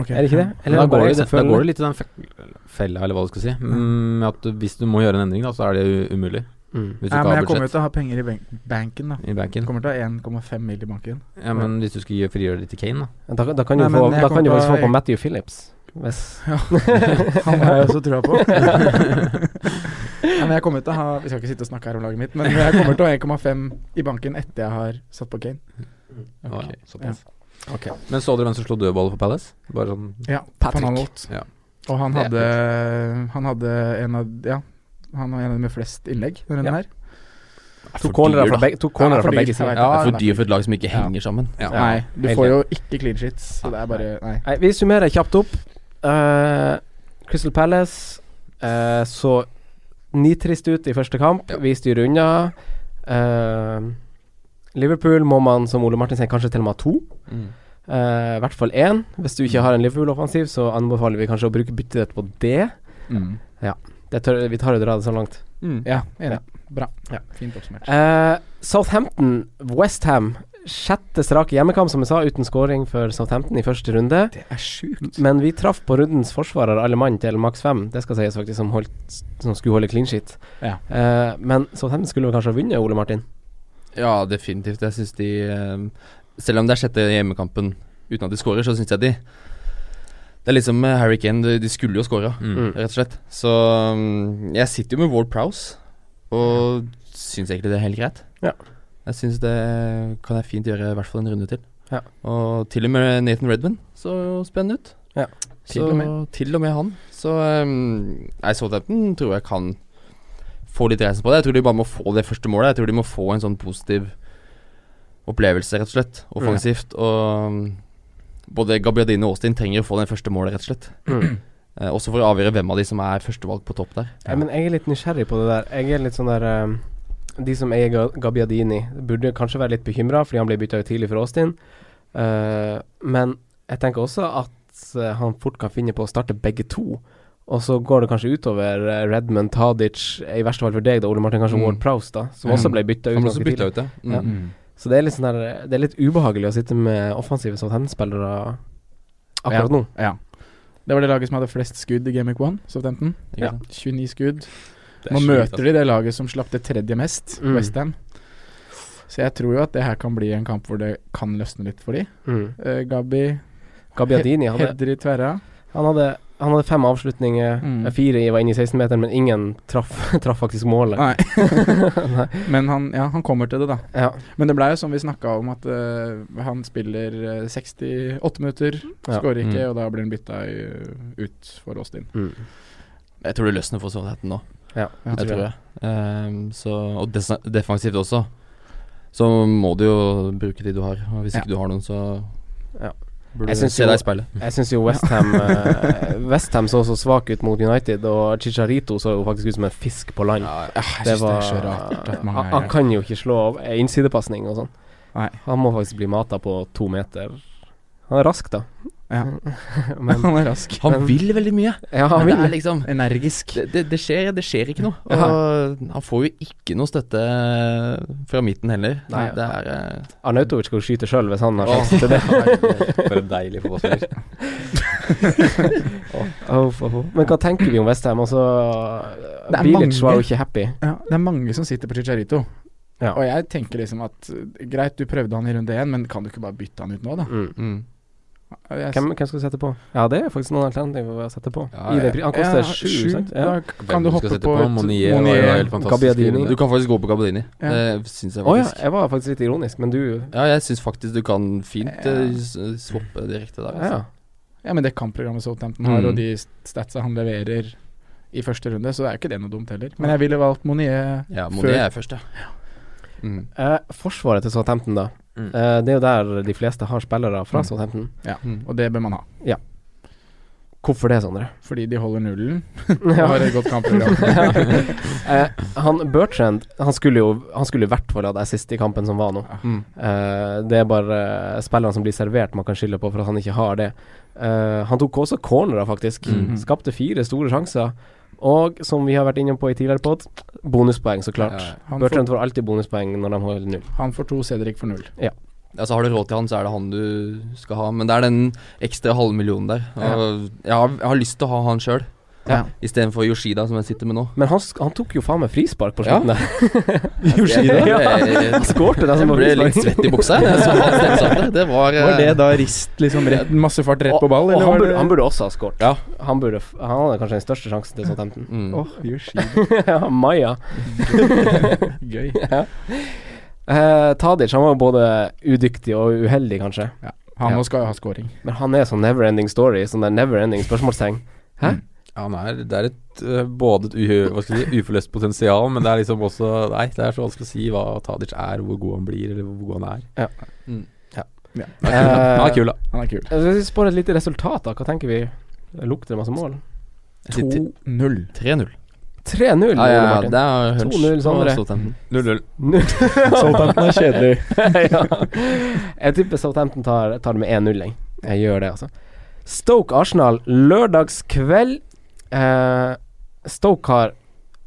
Ok. Er det ikke det? da, bare går det, jeg da føler- går det litt i den fe- fella, eller hva du skal si. Mm, at du, hvis du må gjøre en endring, da, så er det u- umulig. Mm. Hvis du Nei, ikke men har jeg kommer jo budsjett til å ha penger i bank banken, Mm. da. i Jeg banken. kommer til å ha 1,5 mil i banken. Ja, men hvis du skulle gjøre- frigjøre det til Kane, da. Da, da kan du, Nei, men eh, få, jeg da kan du kommer faktisk på- få på Matthew Phillips. Hvis Han har jeg også trua på. Ja, men jeg kommer til å ha Vi skal ikke sitte og snakke her om laget mitt, men jeg kommer til å ha 1,5 i banken etter jeg har satt på Kane. Å, ja, Ja. såpass. Men så dere hvem som slo dødballet for Palace? Bare sånn Ja, Patrick. Van Aanholt. Ja. Og han Det er hadde, han hadde en av Ja, han var en av de med flest innlegg. Denne Ja. her. To cornerer fra begge, to cornerer fra begge sider. Ja, Det er nei. for dyr for et lag som ikke henger sammen. Ja. Nei, du helt får jo enig. ikke clean sheets, så det er bare Nei. Nei, vi summerer kjapt opp. Eh, Crystal Palace eh, så nitrist ut i første kamp. Vi styrer unna. Eh, Liverpool må man, som Ole Martin sier, kanskje til og med ha to. Mm. Eh, I hvert fall én. Hvis du ikke har en Liverpool-offensiv, så anbefaler vi kanskje å bruke byttet ditt på det. Mm. det tør, vi tar jo dra det så langt. Ja, enig. Bra. Ja. Fint oppsummert. Eh, Southampton, Westham. Sjette strake hjemmekamp, som jeg sa, uten scoring for Southampton i første runde. Det er sjukt. Mm. Men vi traff på rundens forsvarer, alle mann, til maks fem. Det skal sies faktisk, som, holdt, som skulle holde clean sheet. Ja. Eh, men Southampton skulle vel kanskje ha vunnet, Ole Martin? Ja, definitivt. Jeg synes de eh, Selv om det er sjette hjemmekampen uten at de scorer, så syns jeg de Det er liksom eh, Harry Kane. De, de skulle jo scora, Mm. rett og slett. Så mm, jeg sitter jo med Ward Prowse, og syns egentlig det er helt greit. Ja. Jeg syns det kan jeg fint gjøre i hvert fall en runde til. Ja. Og til og med Nathan Redman så jo spennende ut. Ja, Til, så, og med. til og med han. Så um, nei, Southampton tror jeg kan få litt reisen på det. Jeg tror de bare må få det første målet. Jeg tror de må få en sånn positiv opplevelse, rett og slett. Offensivt. Og um, både Gabriadine og Austin trenger å få det første målet, rett og slett. Mm. Eh, også for å avgjøre hvem av de som er førstevalg på topp der. Eh, men jeg er litt nysgjerrig på det der. Jeg er litt sånn der eh, De som eier Ga- Gabbiadini, burde kanskje være litt bekymra fordi han ble bytta ut tidlig for Austin. Eh, men jeg tenker også at eh, han fort kan finne på å starte begge to. Og så går det kanskje utover eh, Redmond, Tadic, i verste fall for deg, da, Ole Martin, kanskje Mm. Ward Prowse, da, som også ble bytta ut. Han ble ganske også tidlig. bytta ut, ja. Mm. Ja. Så det er litt, sånn der, det er litt ubehagelig å sitte med offensive Southampton-spillere akkurat nå. Ja. Det var det laget som hadde flest skudd i Game Week 1, Southampton. Ikke Ja. sant? 29 skudd. Det er Nå sjukt, altså. møter de det laget som slapp det tredje mest, Mm. Westham. Så jeg tror jo at det her kan bli en kamp hvor det kan løsne litt for de. Mm. Eh, Gabi Gabbiadini hadde, Hedri Tverra. han hadde, han hadde fem avslutninger, eh, Mm. fire i- var inne i 16-meteren, men ingen traff, traff faktisk målet. Nei. Men han, ja, han kommer til det, da. Ja. Men det blei jo som vi snakka om, at eh, han spiller eh, 68 minutter, Ja. skårer ikke, Mm. og da blir han bytta i- ut for Austin. Mm. Jeg tror det løsner for Southampton nå. Ja, Ja. Jeg tror det. Ehm, så, og desa- defensivt også. Så må du jo bruke de du har. Og hvis Ja. ikke du har noen, så Ja. burde Jeg du syns se jo- deg i speilet. Jeg syns jo Westham Westham så så svak ut mot United, og Chicharito så jo faktisk ut som en fisk på land. Ja, Ah, jeg synes det er så rart at mange han, han er kan jo ikke slå av eh, innsidepasning og sånn. Nei. Han må faktisk bli mata på to meter. Han er rask, da. Ja. Men Han er rask. Han vil veldig mye. ja, han Men vil det er liksom Energisk. det, det, det skjer, det skjer ikke noe. Og han får jo ikke noe støtte fra midten heller. Nei. det er eh, Arnautovic skal jo skyte sjøl hvis han har sjanse. For en deilig fotballspiller. Åh, åh, åh. Men hva tenker vi om Westham? Altså, Det er Bilic mange. var jo ikke happy. Ja, det er mange som sitter på Chicharito. Ja. Og jeg tenker liksom at eh, greit, du prøvde han i runde én, men kan du ikke bare bytte han ut nå, da? Mm. mm. Jeg, Hvem, hvem skal du sette på? Ja, det er faktisk noen alternativer å sette på. Ja, I den, pri- han koster Ja, sju, sju, sant? Da Ja. k- kan du hoppe på, et Monier? var jo Monier. helt fantastisk Gabbiadini. i Du runde. kan faktisk gå på Gabadini. Ja. Det syns jeg Å ja, faktisk. ja. jeg var faktisk litt ironisk, men du jeg syns faktisk du kan fint eh, s- swappe direkte der. Altså. Ja. Ja, men det kampprogrammet Southampton har, Mm. og de statsa han leverer i første runde, så er jo ikke det noe dumt heller. Men jeg ville valgt Monier. Ja, Før- Monet er først, ja. Mm. Eh, forsvaret til Southampton, da. Mm. Eh, det er jo der de fleste har spillere fra Mm. Southampton. Mm. Og det bør man ha. Hvorfor det, Sondre? Fordi de holder nullen og Ja. har et godt kampprogram. Eh, han Bertrand han skulle jo Han skulle i hvert fall hatt assist i kampen som var nå. Mm. Eh, det er bare eh, spillerne som blir servert man kan skylde på for at han ikke har det. Eh, han tok også cornerer, faktisk. Mhm. Skapte fire store sjanser. Og som vi har vært inne på i tidligere pod, bonuspoeng, så klart. Ja, ja. Han får, Bertrand får alltid bonuspoeng når de holder null. han får to, Cedric får null. Altså Har du råd til han, så er det han du skal ha. Men det er den ekstra halve millionen der. Og jeg, har, jeg har lyst til å ha han sjøl, Ja. istedenfor Yoshida, som jeg sitter med nå. Men han, sk- han tok jo faen meg frispark på slutten der. Yoshida? Jeg, jeg, Han skårte det som jeg var ble litt frispark. svett i buksa. Jeg, så han steppsatte. Det var, eh, da rist liksom rett, masse fart rett på ball, Og eller han var burde, det han burde også ha skåret. Ja. Han, burde f- han hadde kanskje den største sjansen til Southampton. mm. Åh, Yoshida. Ja, Maya. Gøy. Eh, Tadic han var jo både udyktig og uheldig, kanskje. Han Ja. nå skal jo ha scoring. Men han er sånn never ending story, sånn der never ending spørsmålstegn. Hæ? Ja, han er, det er et, eh, både et u- hva skal jeg si, uforløst potensial, men det er liksom også Nei, det er så vanskelig å si hva Tadic er, hvor god han blir, eller hvor god han er. Ja. Mm. Ja. Ja. Han er kul, da. Han er kul, da. Han er kul. Eh, Hvis vi spår et lite resultat, da, hva tenker vi? Lukter det masse mål? 2-0. 3-0. 3-0, Ja, ja, Ole Martin. det er hunch. 2-0, Sondre. Og Southampton. 0-0. Southampton er kjedelig. ja. Jeg tipper Southampton tar, tar det med 1-0. Jeg. jeg gjør det, altså. Stoke-Arsenal lørdagskveld. Eh, Stoke har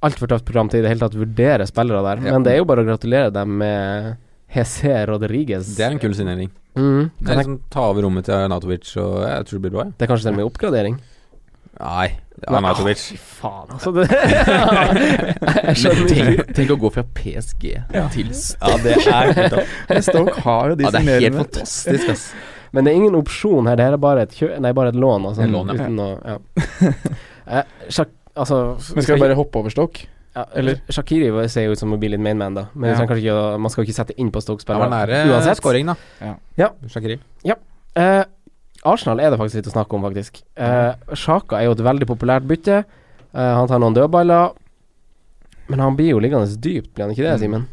altfor tøft program til i det hele tatt vurdere spillere der, men det er jo bare å gratulere dem med Jesse Rodriguez. Det er en kul signering. mm, Det kan er jeg, liksom Ta over rommet til Arnatovic, og jeg tror det blir bra. jeg. det er kanskje til og med oppgradering. Nei, Arnatovic. Faen, altså. Det, jeg skjønner ikke. Tenk, tenk å gå fra PSG til Ja, det er kult, da. Stoke har jo de Ja, det er helt signerende. fantastisk, ass. Men det er ingen opsjon her, det her er bare et, kjø nei, bare et lån. Altså, En lån, ja. uten å, ja. eh, Shak altså, Men skal vi bare hoppe over Stoke? Ja, eller Shakiri ser jo ut som å bli litt mainman, da. Men vi Ja. trenger kanskje ikke, å- man skal jo ikke sette inn på Det var eh, Stoke-spillere. nære scoring, da. Ja. Ja. Shaqiri. Eh, Arsenal er det faktisk litt å snakke om, faktisk. Eh, Sjaka er jo et veldig populært bytte. Eh, han tar noen dødballer. Men han blir jo liggende dypt, blir han ikke det, Simen?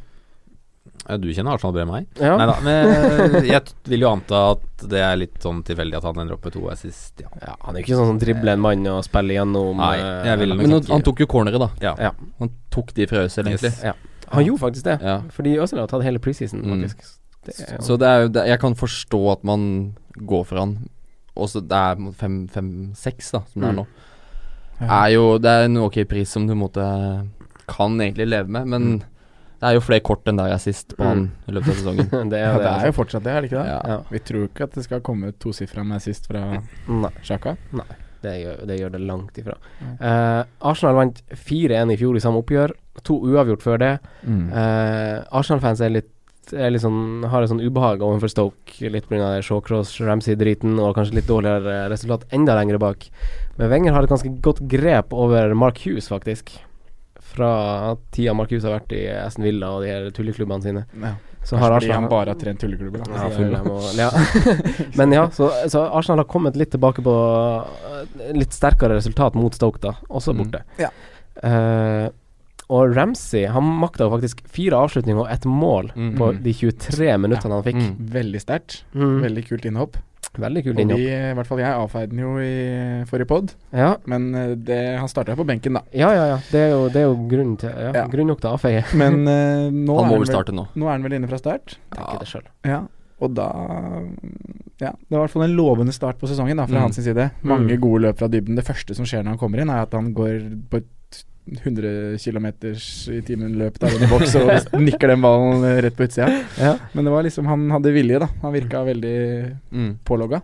Ja, Du kjenner Arsenal bedre enn meg. Ja. Nei da, men eh, jeg t- vil jo anta at det er litt sånn tilfeldig at han ender opp med to assist. Ja. ja, han er jo ikke sånn som dribler en mann og spiller gjennom Nei, eh, jeg ville Men nok han, han ikke tok jo corneret, da. Ja. Ja. Han tok de fra Øzil, egentlig. Yes. Ja. Han gjorde faktisk det, Ja. fordi Øzil har tatt hele preseason, Mm. faktisk. Det er jo- Så det er jo det, Jeg kan forstå at man går for han. Også det er mot fem, fem, seks, da, som det er nå. Mm. Ja. Er jo, det er en ok pris som du på en måte kan egentlig leve med, men Mm. det er jo flere kort enn der jeg sist på han i løpet av sesongen. det er, det, Ja, det altså. er jo fortsatt det, er det ikke det? Ja. Ja. Vi tror ikke at det skal komme ut tosifra med sist fra Nei. Sjaka. Det gjør, det gjør det langt ifra. Mm. Eh, Arsenal vant 4-1 i fjor i samme oppgjør. To uavgjort før det. Mm. Eh, Arsenal-fans er litt er litt sånn, har et sånn ubehag overfor Stoke, litt pga. Shawcross, Ramsey-driten og kanskje litt dårligere eh, resultat enda lenger bak. Men Wenger har et ganske godt grep over Mark Hughes, faktisk. Fra tida Mark Hughes har vært i Aston Villa og de her tulleklubbene sine. Ja. Så har Kanskje fordi han Arsenal bare har trent tulleklubber, da. ja, Så det er full jo- av må- ja. Men ja, så, så Arsenal har kommet litt tilbake på eh, litt sterkere resultat mot Stoke, da. Også borte. Ja. Eh, og Ramsey han makta jo faktisk fire avslutninger og ett mål på de 23 minuttene han fikk. Veldig sterkt. Mm. Veldig kult innhopp. Veldig Og kul vi, innhopp. i hvert fall jeg, avfeide den jo i forrige pod, Ja. men eh, det, han starta på benken, da. ja, ja, ja. Det er jo, det er jo grunn, til, ja, Ja. grunn nok til å avfeie. Men eh, nå, Han er må vel vel, starte nå. nå er han vel inne fra start. Tenker det selv. Ja, og da Ja, det var i hvert fall en lovende start på sesongen da, fra Mm. hans side. Mange Mm. gode løp fra dybden. Det første som skjer når han kommer inn, er at han går på et 100 km i timen-løp der under boks og nikker den ballen eh, rett på utsida. Ja. Men det var liksom Han hadde vilje, da. Han Mm. virka veldig pålogga.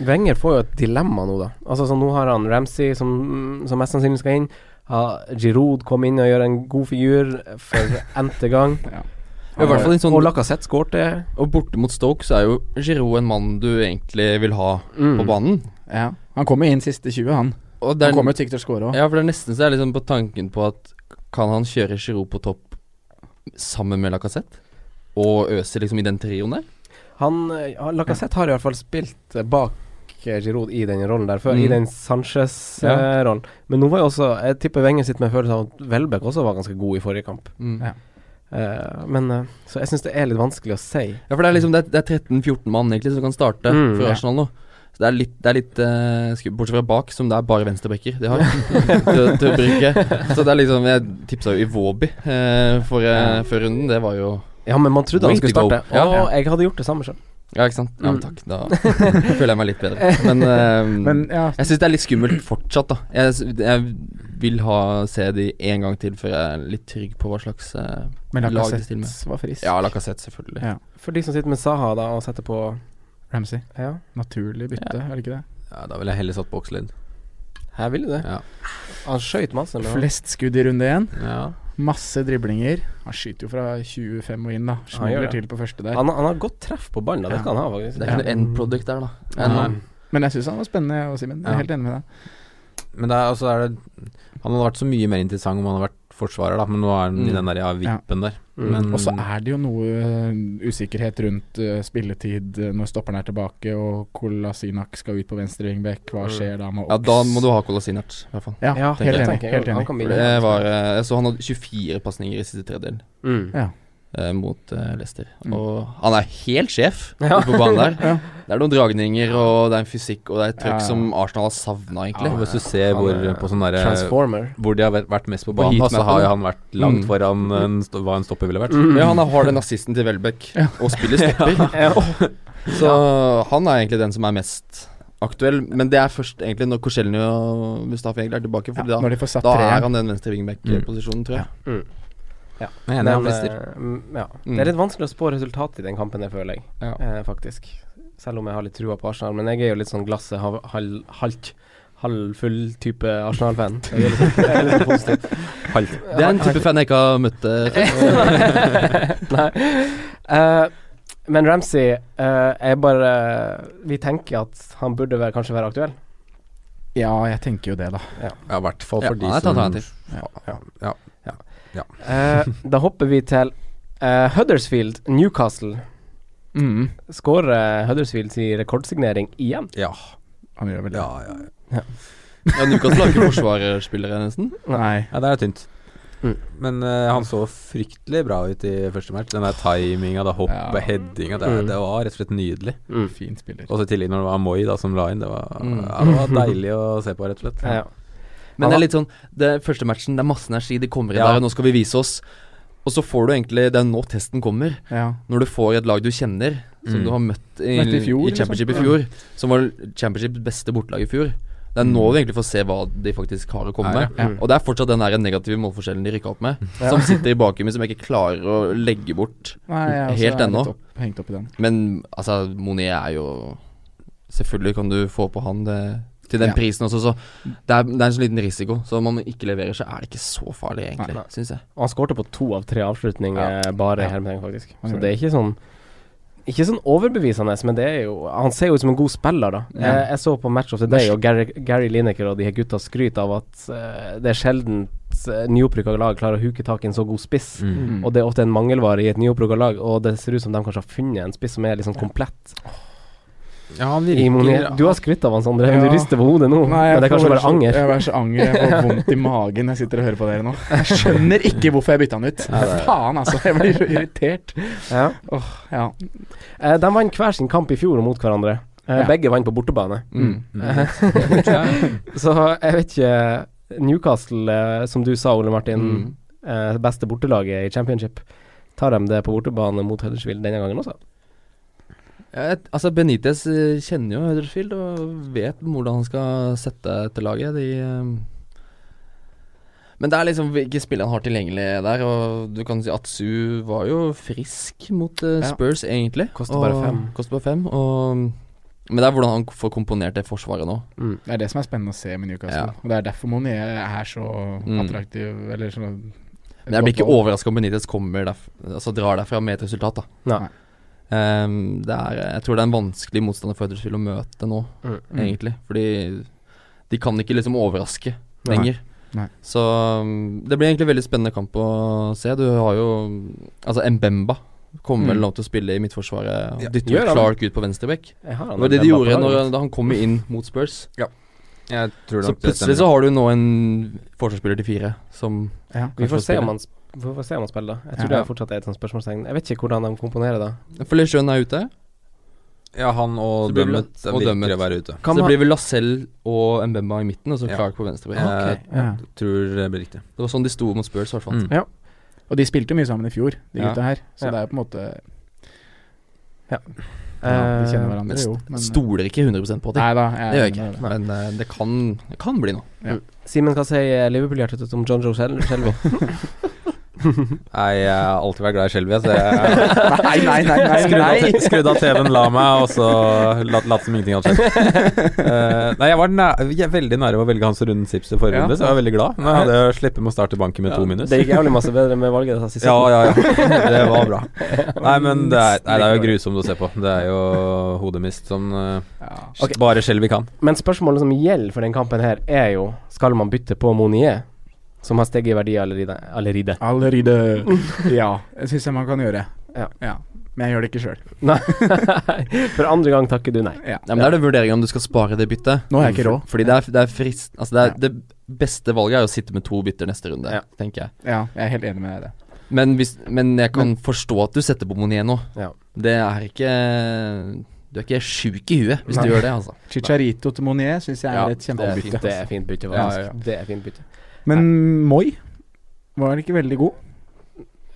Wenger får jo et dilemma nå, da. Altså så Nå har han Ramsey, som, som mest sannsynlig skal inn. Ha Giroud kom inn og gjør en god figur for n-te gang. I hvert fall i en sånn Og Lacassette skårte. Og borte mot Stoke så er jo Giroud en mann du egentlig vil ha på banen. Ja. Han kom jo inn siste 20, han. Og det Mm. Han er, kommer jo sikkert til å score òg. ja, for det er nesten så jeg er liksom på tanken på at kan han kjøre Giroud på topp sammen med Lacassette? Og Øse liksom i den trioen der? Han eh, ja, Lacassette har i hvert fall spilt eh, bak eh, Giroud i den rollen der før, Mm. i den Sanchez-rollen. Men nå var jo også Jeg tipper Wenger sitter med en følelse av at Welbeck også var ganske god i forrige kamp. Mm. Ja. Eh, men eh, Så jeg syns det er litt vanskelig å si. Ja, for det er liksom Det er, det er 13-14 mann egentlig som kan starte Mm, for ja. Arsenal nå. Så det er litt, det er litt eh, sku- Bortsett fra bak, som det er bare venstrebacker de har til, til å bruke. Så det er liksom Jeg tipsa jo Iwobi eh, for, eh, før runden. Det var jo Ja, men man trodde Way han skulle to go. starte. Ja. Og jeg hadde gjort det samme sjøl. Ja, ikke sant? Ja, Mm. men takk. Da føler jeg meg litt bedre. Men, eh, Men ja, jeg syns det er litt skummelt fortsatt, da. Jeg, s- jeg vil ha se de en gang til før jeg er litt trygg på hva slags eh, men lag de stiller med. Lacassette var frisk. Ja, Lacassette, selvfølgelig. Ja. For de som sitter med Saha da og setter på Ramsey. Ja, Naturlig bytte, er det ikke det? Ja, da ville jeg heller satt Boxlid. her ville det. Ja. Han skøyt masse. men han- Flest skudd i runde én. Ja. Masse driblinger. Han skyter jo fra 25 og inn, da. gjør Smugler det. til på første der. Han, han har godt treff på ballen, da. det Ja. skal han ha, faktisk. Det er ikke noe end product der, da. Ja. Ennå. Men jeg syns han var spennende, jeg og Simen. Jeg er Ja. helt enig med deg. Men det er, altså, er det, han hadde vært så mye mer interessant om han hadde vært forsvarer, da, men nå er han i Mm. den der ja, vippen der. Mm. Men og så er det jo noe eh, usikkerhet rundt eh, spilletid eh, når stopperen er tilbake og Kolasinac skal ut på venstre wingback. Hva skjer da med Ja, da må du ha Kolasinac, i hvert fall. Ja, tenker helt jeg. enig, helt enig. For Det var, eh, jeg så han hadde 24 pasninger i siste tredjedel Mm. Ja. eh, mot eh, Leicester. Mm. Og han er helt sjef Ja. ute på banen der. Ja. Det er noen dragninger, og det er en fysikk, og det er et Ja, ja. trøkk som Arsenal har savna, egentlig. Ja, hvis du ser hvor, på sånn derre- Transformer. hvor de har vært- vært mest på banen, da, så heatmappen. har jo han vært langt Mm. foran en sto- hva en stopper ville vært. Ja, han har den assisten til Welbeck, og spiller stopper. Så han er egentlig den som er mest aktuell. Men det er først egentlig når Korselny og Mustafi egentlig er tilbake. For Ja, når de da, får satt da treeren. er han den venstre wingback-posisjonen, tror jeg. Mm. Jeg er enig, han Men, frister. eh, mm, ja. Mm. Det er litt vanskelig å spå resultatet i den kampen, jeg føler jeg. Ja. Eh, faktisk. Selv om jeg har litt trua på Arsenal. Men jeg er jo litt sånn glasset halv, halv, halvt, halvfull type Arsenal-fan. Jeg er litt sånn- jeg er litt sånn positiv. Det er en type fan jeg ikke har møtt. eh, Nei. Eh, men Ramsey eh, er bare Vi tenker at han burde være, kanskje være aktuell. Ja, jeg tenker jo det, da. Ja, i hvert fall Ja, for han er de et som alternativ. Eh, da hopper vi til eh, Huddersfield, Newcastle. Mm. Skårer eh, Huddersfield sin rekordsignering igjen? Ja. Han gjør vel det. Ja, ja, ja. Ja, Newcastle har ikke forsvarsspillere, nesten. Nei. ja, det er tynt. Mm. Men eh, han så fryktelig bra ut i første match. Den der timinga, det hoppet, Ja. headinga det, Mm. det var rett og slett nydelig. Fin spiller. Og så i tillegg når det var Moi da som la inn, det var, Mm. ja, det var deilig å se på, rett og slett. Ja, ja. Men det er litt sånn Det er første matchen, det er masse energi, de kommer inn Ja. der, og nå skal vi vise oss. Og så får du egentlig Det er nå testen kommer. Ja. Når du får et lag du kjenner, som Mm. du har møtt i, Møtte i fjor, i Championship liksom. i fjor, som var Championships beste bortelag i fjor. Det er nå du egentlig får se hva de faktisk har å komme Ja, ja. med. Og det er fortsatt den der negative målforskjellen de rykka opp med, som sitter i bakhjulet, som jeg ikke klarer å legge bort. Nei, jeg også Helt er litt ennå. Opp, hengt opp i den. Men altså, Monier er jo Selvfølgelig kan du få på han det, til den Ja. prisen også, så det er, det er en sånn liten risiko. Så om han ikke leverer, så er det ikke så farlig, egentlig, Nei. syns jeg. Og han skårte på to av tre avslutninger Ja. bare i Ja. hermetegn, faktisk. Han Så gjorde det er ikke sånn ikke sånn overbevisende, men det er jo Han ser jo ut som en god spiller, da. Eh, Ja. Jeg, jeg så på Match of the Day, og Gary, Gary Lineker og de her gutta skryter av at eh, det er sjelden uh, nyopprykka lag klarer å huke tak i en så god spiss. Mm. Og det er ofte en mangelvare i et nyopprykka lag, og det ser ut som de kanskje har funnet en spiss som er liksom komplett. Ja, han I Monier- du har skrytt av han, Sondre, men Ja. du rister på hodet nå. Nei, jeg men det er får kanskje bare så- anger. Jeg er så anger, jeg får vondt i magen når jeg sitter og hører på dere nå. Jeg skjønner ikke hvorfor jeg bytta han ut. Faen, altså. Jeg blir så irritert. Ja. Ja. Eh, de vant hver sin kamp i fjor og mot hverandre. Eh, Ja. Begge vant på bortebane. Mm. Så jeg vet ikke Newcastle, eh, som du sa, Ole Martin, Mm. eh, beste bortelaget i championship. Tar de det på bortebane mot Huddersfield denne gangen også? Ja, et- altså Benitez eh, kjenner jo Huddersfield og vet hvordan han skal sette etter laget. De, eh, men det er liksom hvilke spillere han har tilgjengelig der. Og du kan si Atsu var jo frisk mot eh, Ja. Spurs, egentlig. Koster bare og- fem. Koster bare fem. Og, men det er hvordan han får komponert det forsvaret nå. Det er det som er spennende å se med Newcastle. Ja. Og det er derfor Monier er så Mm. attraktiv, eller sånn Men jeg blir ikke overraska om Benitez kommer derf altså drar derfra med et resultat, da. Nei. Ehm, det er, jeg tror det er en vanskelig motstander for Huddersfield å møte nå, Mm. egentlig. Fordi de kan ikke liksom overraske Nei. lenger. Nei. Så um, det blir egentlig veldig spennende kamp å se. Du har jo Altså Mbemba kommer vel Mm. nå til å spille i midtforsvaret. Ja. og Dytter Gjør han. Clark ut på venstrebekk. Jeg har han Det var det der de bak på gjorde laget. når, da han kom inn mot Spurs. Jeg tror Så nok det plutselig så har du nå en forsvarsspiller til fire som Ja. Vi kanskje får se spille. om han sp- vi får se om han spiller. da. Jeg tror Ja. det er fortsatt et sånt spørsmålstegn. Jeg vet ikke hvordan de komponerer det. For Lejeune er ute. Ja, han og Så blir det- Dømmet og virker Dømmet. å være ute. Kan så det man- blir vel Lacelle og Mbemba i midten, og så Ja. Clark på venstre. Ja. Eh, Ja. Tror det blir riktig. Det var sånn de sto mot Spurs, i hvert fall. Mm. Og de spilte jo mye sammen i fjor, de Ja. gutta her. Så Ja. det er jo på en måte ja, De Eh, kjenner Men hverandre, jo. st- stoler ikke 100 på det. Nei da. det gjør jeg ikke. Men eh, det kan, det kan bli noe. Simen, hva sier Liverpool-hjertet om John Joe Sel- Shelby? Nei, jeg har alltid vært glad i Skjelvia, så jeg Nei, nei, nei, nei, Skrudd av- nei. Skrudd av TV-en, la meg, og så latt latt som ingenting hadde skjedd. Eh, nei, jeg var næ jeg er veldig nære ved å velge Hans Runden Zips i forrige Ja. runde, så jeg var veldig glad. Men jeg hadde jo slippet med å starte banken med to minus. Det gikk jævlig masse bedre med valget deres siste. Ja, ja, ja. Det var bra. Nei, men det er, nei, det er jo grusomt å se på. Det er jo hodemist som eh, Ok. bare Skjelvi kan. Men spørsmålet som gjelder for den kampen her, er jo Skal man bytte på Monier, som har steget i verdi allerede? allerede? Allerede. Ja, det syns jeg man kan gjøre. Ja. Men jeg gjør det ikke sjøl. Nei. For andre gang takker du nei. Ja. Ja, men Da er det vurdering om du skal spare det byttet. Nå har jeg ikke råd. Fordi det er, det er frist Altså det, er, det beste valget er jo å sitte med to bytter neste runde, tenker jeg. Ja, jeg er helt enig med deg i det. Men, hvis, men jeg kan forstå at du setter på Monier nå. Ja. Det er ikke Du er ikke sjuk i huet hvis Nei. du gjør det, altså. Chicharito til Monier syns jeg er Ja, et kjempebytte. Det er fint bytte, faktisk. Ja, ja, ja. Det er fint bytte. Men Moi var ikke veldig god.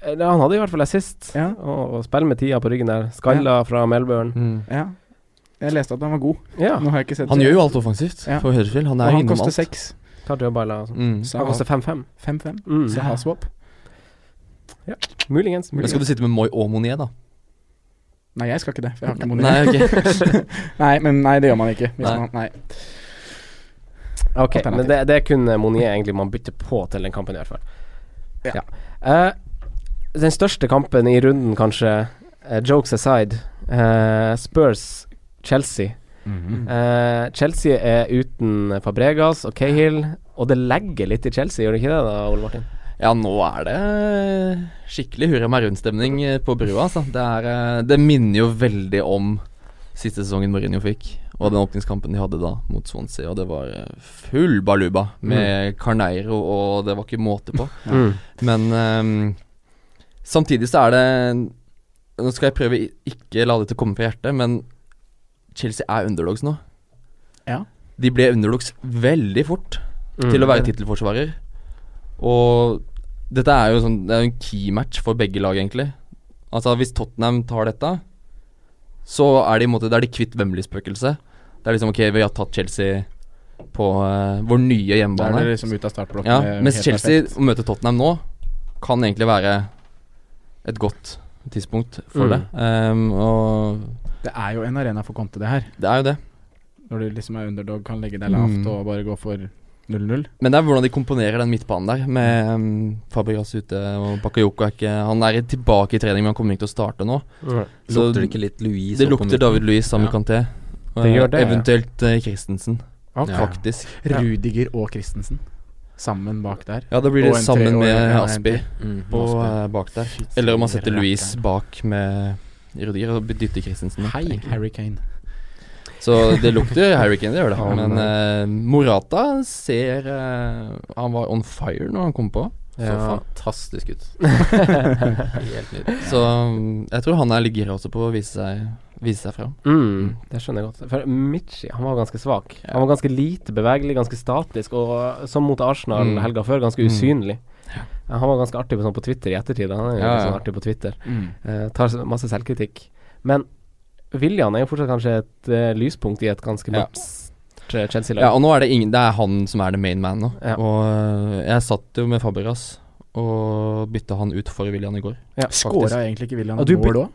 Eh, Han hadde i hvert fall assist. Ja. Og, og spiller med tida på ryggen der. Skalla fra Melbourne. ja. Jeg leste at han var god. Ja. Nå har jeg ikke sett Han gjør jo alt offensivt Ja. for Huddersfield. Han Og er han innom koster alt. seks. Tarjei Bala og sånn. Mm. Så Han koster 5-5. 5-5. Mm. Så Haswap Muligens. Men muligens. skal du sitte med Moi og Monier, da? Nei, jeg skal ikke det, for jeg har Nei, ikke Monier. ok. Nei, men nei, det gjør man ikke. Hvis Nei. Man, nei. Ok, Alternativ. men det, det er kun eh, Monier egentlig man bytter på til den kampen, i hvert fall. Ja. Eh, den største kampen i runden, kanskje, eh, jokes aside, eh, Spurs Chelsea. Mhm. Eh, Chelsea er uten Fabregas og Cahill, og det legger litt i Chelsea, gjør det ikke det da, Ole Martin? Ja, nå er det skikkelig hurra meg rundt-stemning eh, på brua, altså. Det, er, eh, det minner jo veldig om siste sesongen Mourinho fikk, og den åpningskampen de hadde da mot Swansea, og det var eh, full baluba Mm. med Carneiro, og det var ikke måte på. Mm. Men eh, samtidig så er det Nå skal jeg prøve i- ikke la dette komme fra hjertet, men Chelsea er underdogs nå. Ja. De ble underdogs veldig fort Mm. til å være tittelforsvarer. Og dette er jo sånn, det er jo en key-match for begge lag, egentlig. Altså Hvis Tottenham tar dette, så er de, i en måte, da er de kvitt Wembley-spøkelset. Det er liksom ok, vi har tatt Chelsea på eh, vår nye Da er hjemmebane. det liksom ut av startblokken. Ja, eh, mens helt Chelsea perfekt. å møte Tottenham nå kan egentlig være et godt tidspunkt Mm. for det. Ehm, og Det er jo en arena for Conte, det her. det er jo det. Når du liksom er underdog, kan legge deg lavt Mm. og bare gå for 0-0. Men det er hvordan de komponerer den midtbanen der, med um, Fabregas ute og Bakayoko er ikke Han er tilbake i trening, men han kommer ikke til å starte nå. Mm. Så Lukter det ikke litt Louise Det opp på lukter midten? David Louis sammen med Ja. Kanté. Det gjør det, ja. Eventuelt eh, Christensen, Ja. faktisk. Ja. Rudiger og Christensen sammen bak der. Ja, da blir Og det en sammen treåring, med ja, en Aspi Mm. på, Aspi. eh, bak der. Eller om man setter rakkeren. Louis bak med Rudiger og dytter Christensen. opp, Hei, egentlig. Harry Kane. Så det lukter Harry Kane, det gjør det. Ja, Men men- eh, Morata ser eh, Han var on fire når han kom på. Så Ja. fantastisk ut. Helt nydelig. Så mm, jeg tror han er litt gira også på å vise seg, vise seg fram. Mm, det skjønner jeg godt. For Mitchie, han var ganske svak. Han var ganske lite bevegelig, ganske statisk, og som mot Arsenal Mm. helga før, ganske usynlig. Han var ganske artig på, sånn på Twitter i ettertid. Han er jo Ja, Mm. ja. sånn artig på Twitter. Eh, tar s- masse selvkritikk. Men William er jo fortsatt kanskje et eh, lyspunkt i et ganske Ja. mørkt eh, Chelsea-lag. Ja, og nå er det ingen Det er han som er the main man nå. Ja. Og eh, jeg satt jo med Fabregas og bytta han ut for William i går. Ja, Skåra egentlig ikke William Og du mål òg,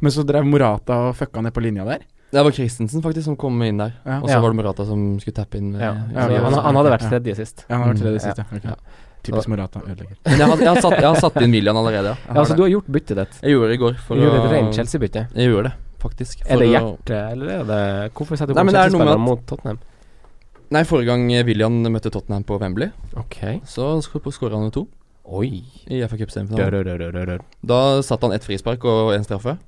men så drev Morata og fucka ned på linja der. Det var Christensen faktisk som kom inn der, Ja. og så Ja. var det Morata som skulle tappe inn. eh, Ja. i- Ja, Så vi han, har- han hadde vært ja. tredje sist. Ja, han har vært Mm. tredje Ja. siste. ok. Ja. Typisk Morata, ødelegger. Men jeg har, jeg, har satt, jeg har satt inn William allerede, ja. Ja, altså, du har gjort byttet ditt. Jeg gjorde det i går. For Du gjorde et å- rent Chelsea-bytte. Jeg gjorde det, faktisk. Er For det å- hjertet, eller er det Hvorfor setter du Nei, på men det er noe med Chelsea-spillere at- mot Tottenham? Nei, forrige gang William møtte Tottenham på Wembley, Ok. så skåra han jo to Oi. i FA Cup-semifinalen. Dørørørørør. Da satt han ett frispark og én straffe.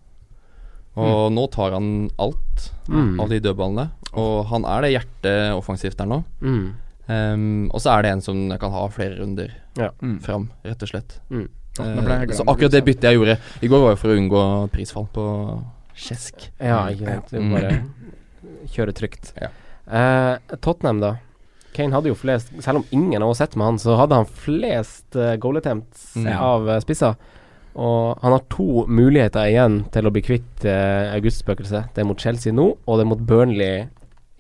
Og nå tar han alt, Mm. alle de dødballene. Og han er det hjertet offensivt der nå. Mm. Ehm, og så er det en som kan ha flere runder Ja. Mm. fram, rett og slett. Mm. Eh, nå ble jeg glad så når du akkurat det sa byttet jeg gjorde i går, var jo for å unngå prisfall på Kjesk. Ja, ikke sant. Det er Mm. Bare kjøre trygt. Ja. Eh, Tottenham, da. Kane hadde jo flest Selv om ingen av oss har sett med han, så hadde han flest uh, goal attempts Mm. av uh, spisser. Og han har to eh, muligheter igjen til å bli kvitt uh, augustspøkelset. Det er mot Chelsea nå, og det er mot Burnley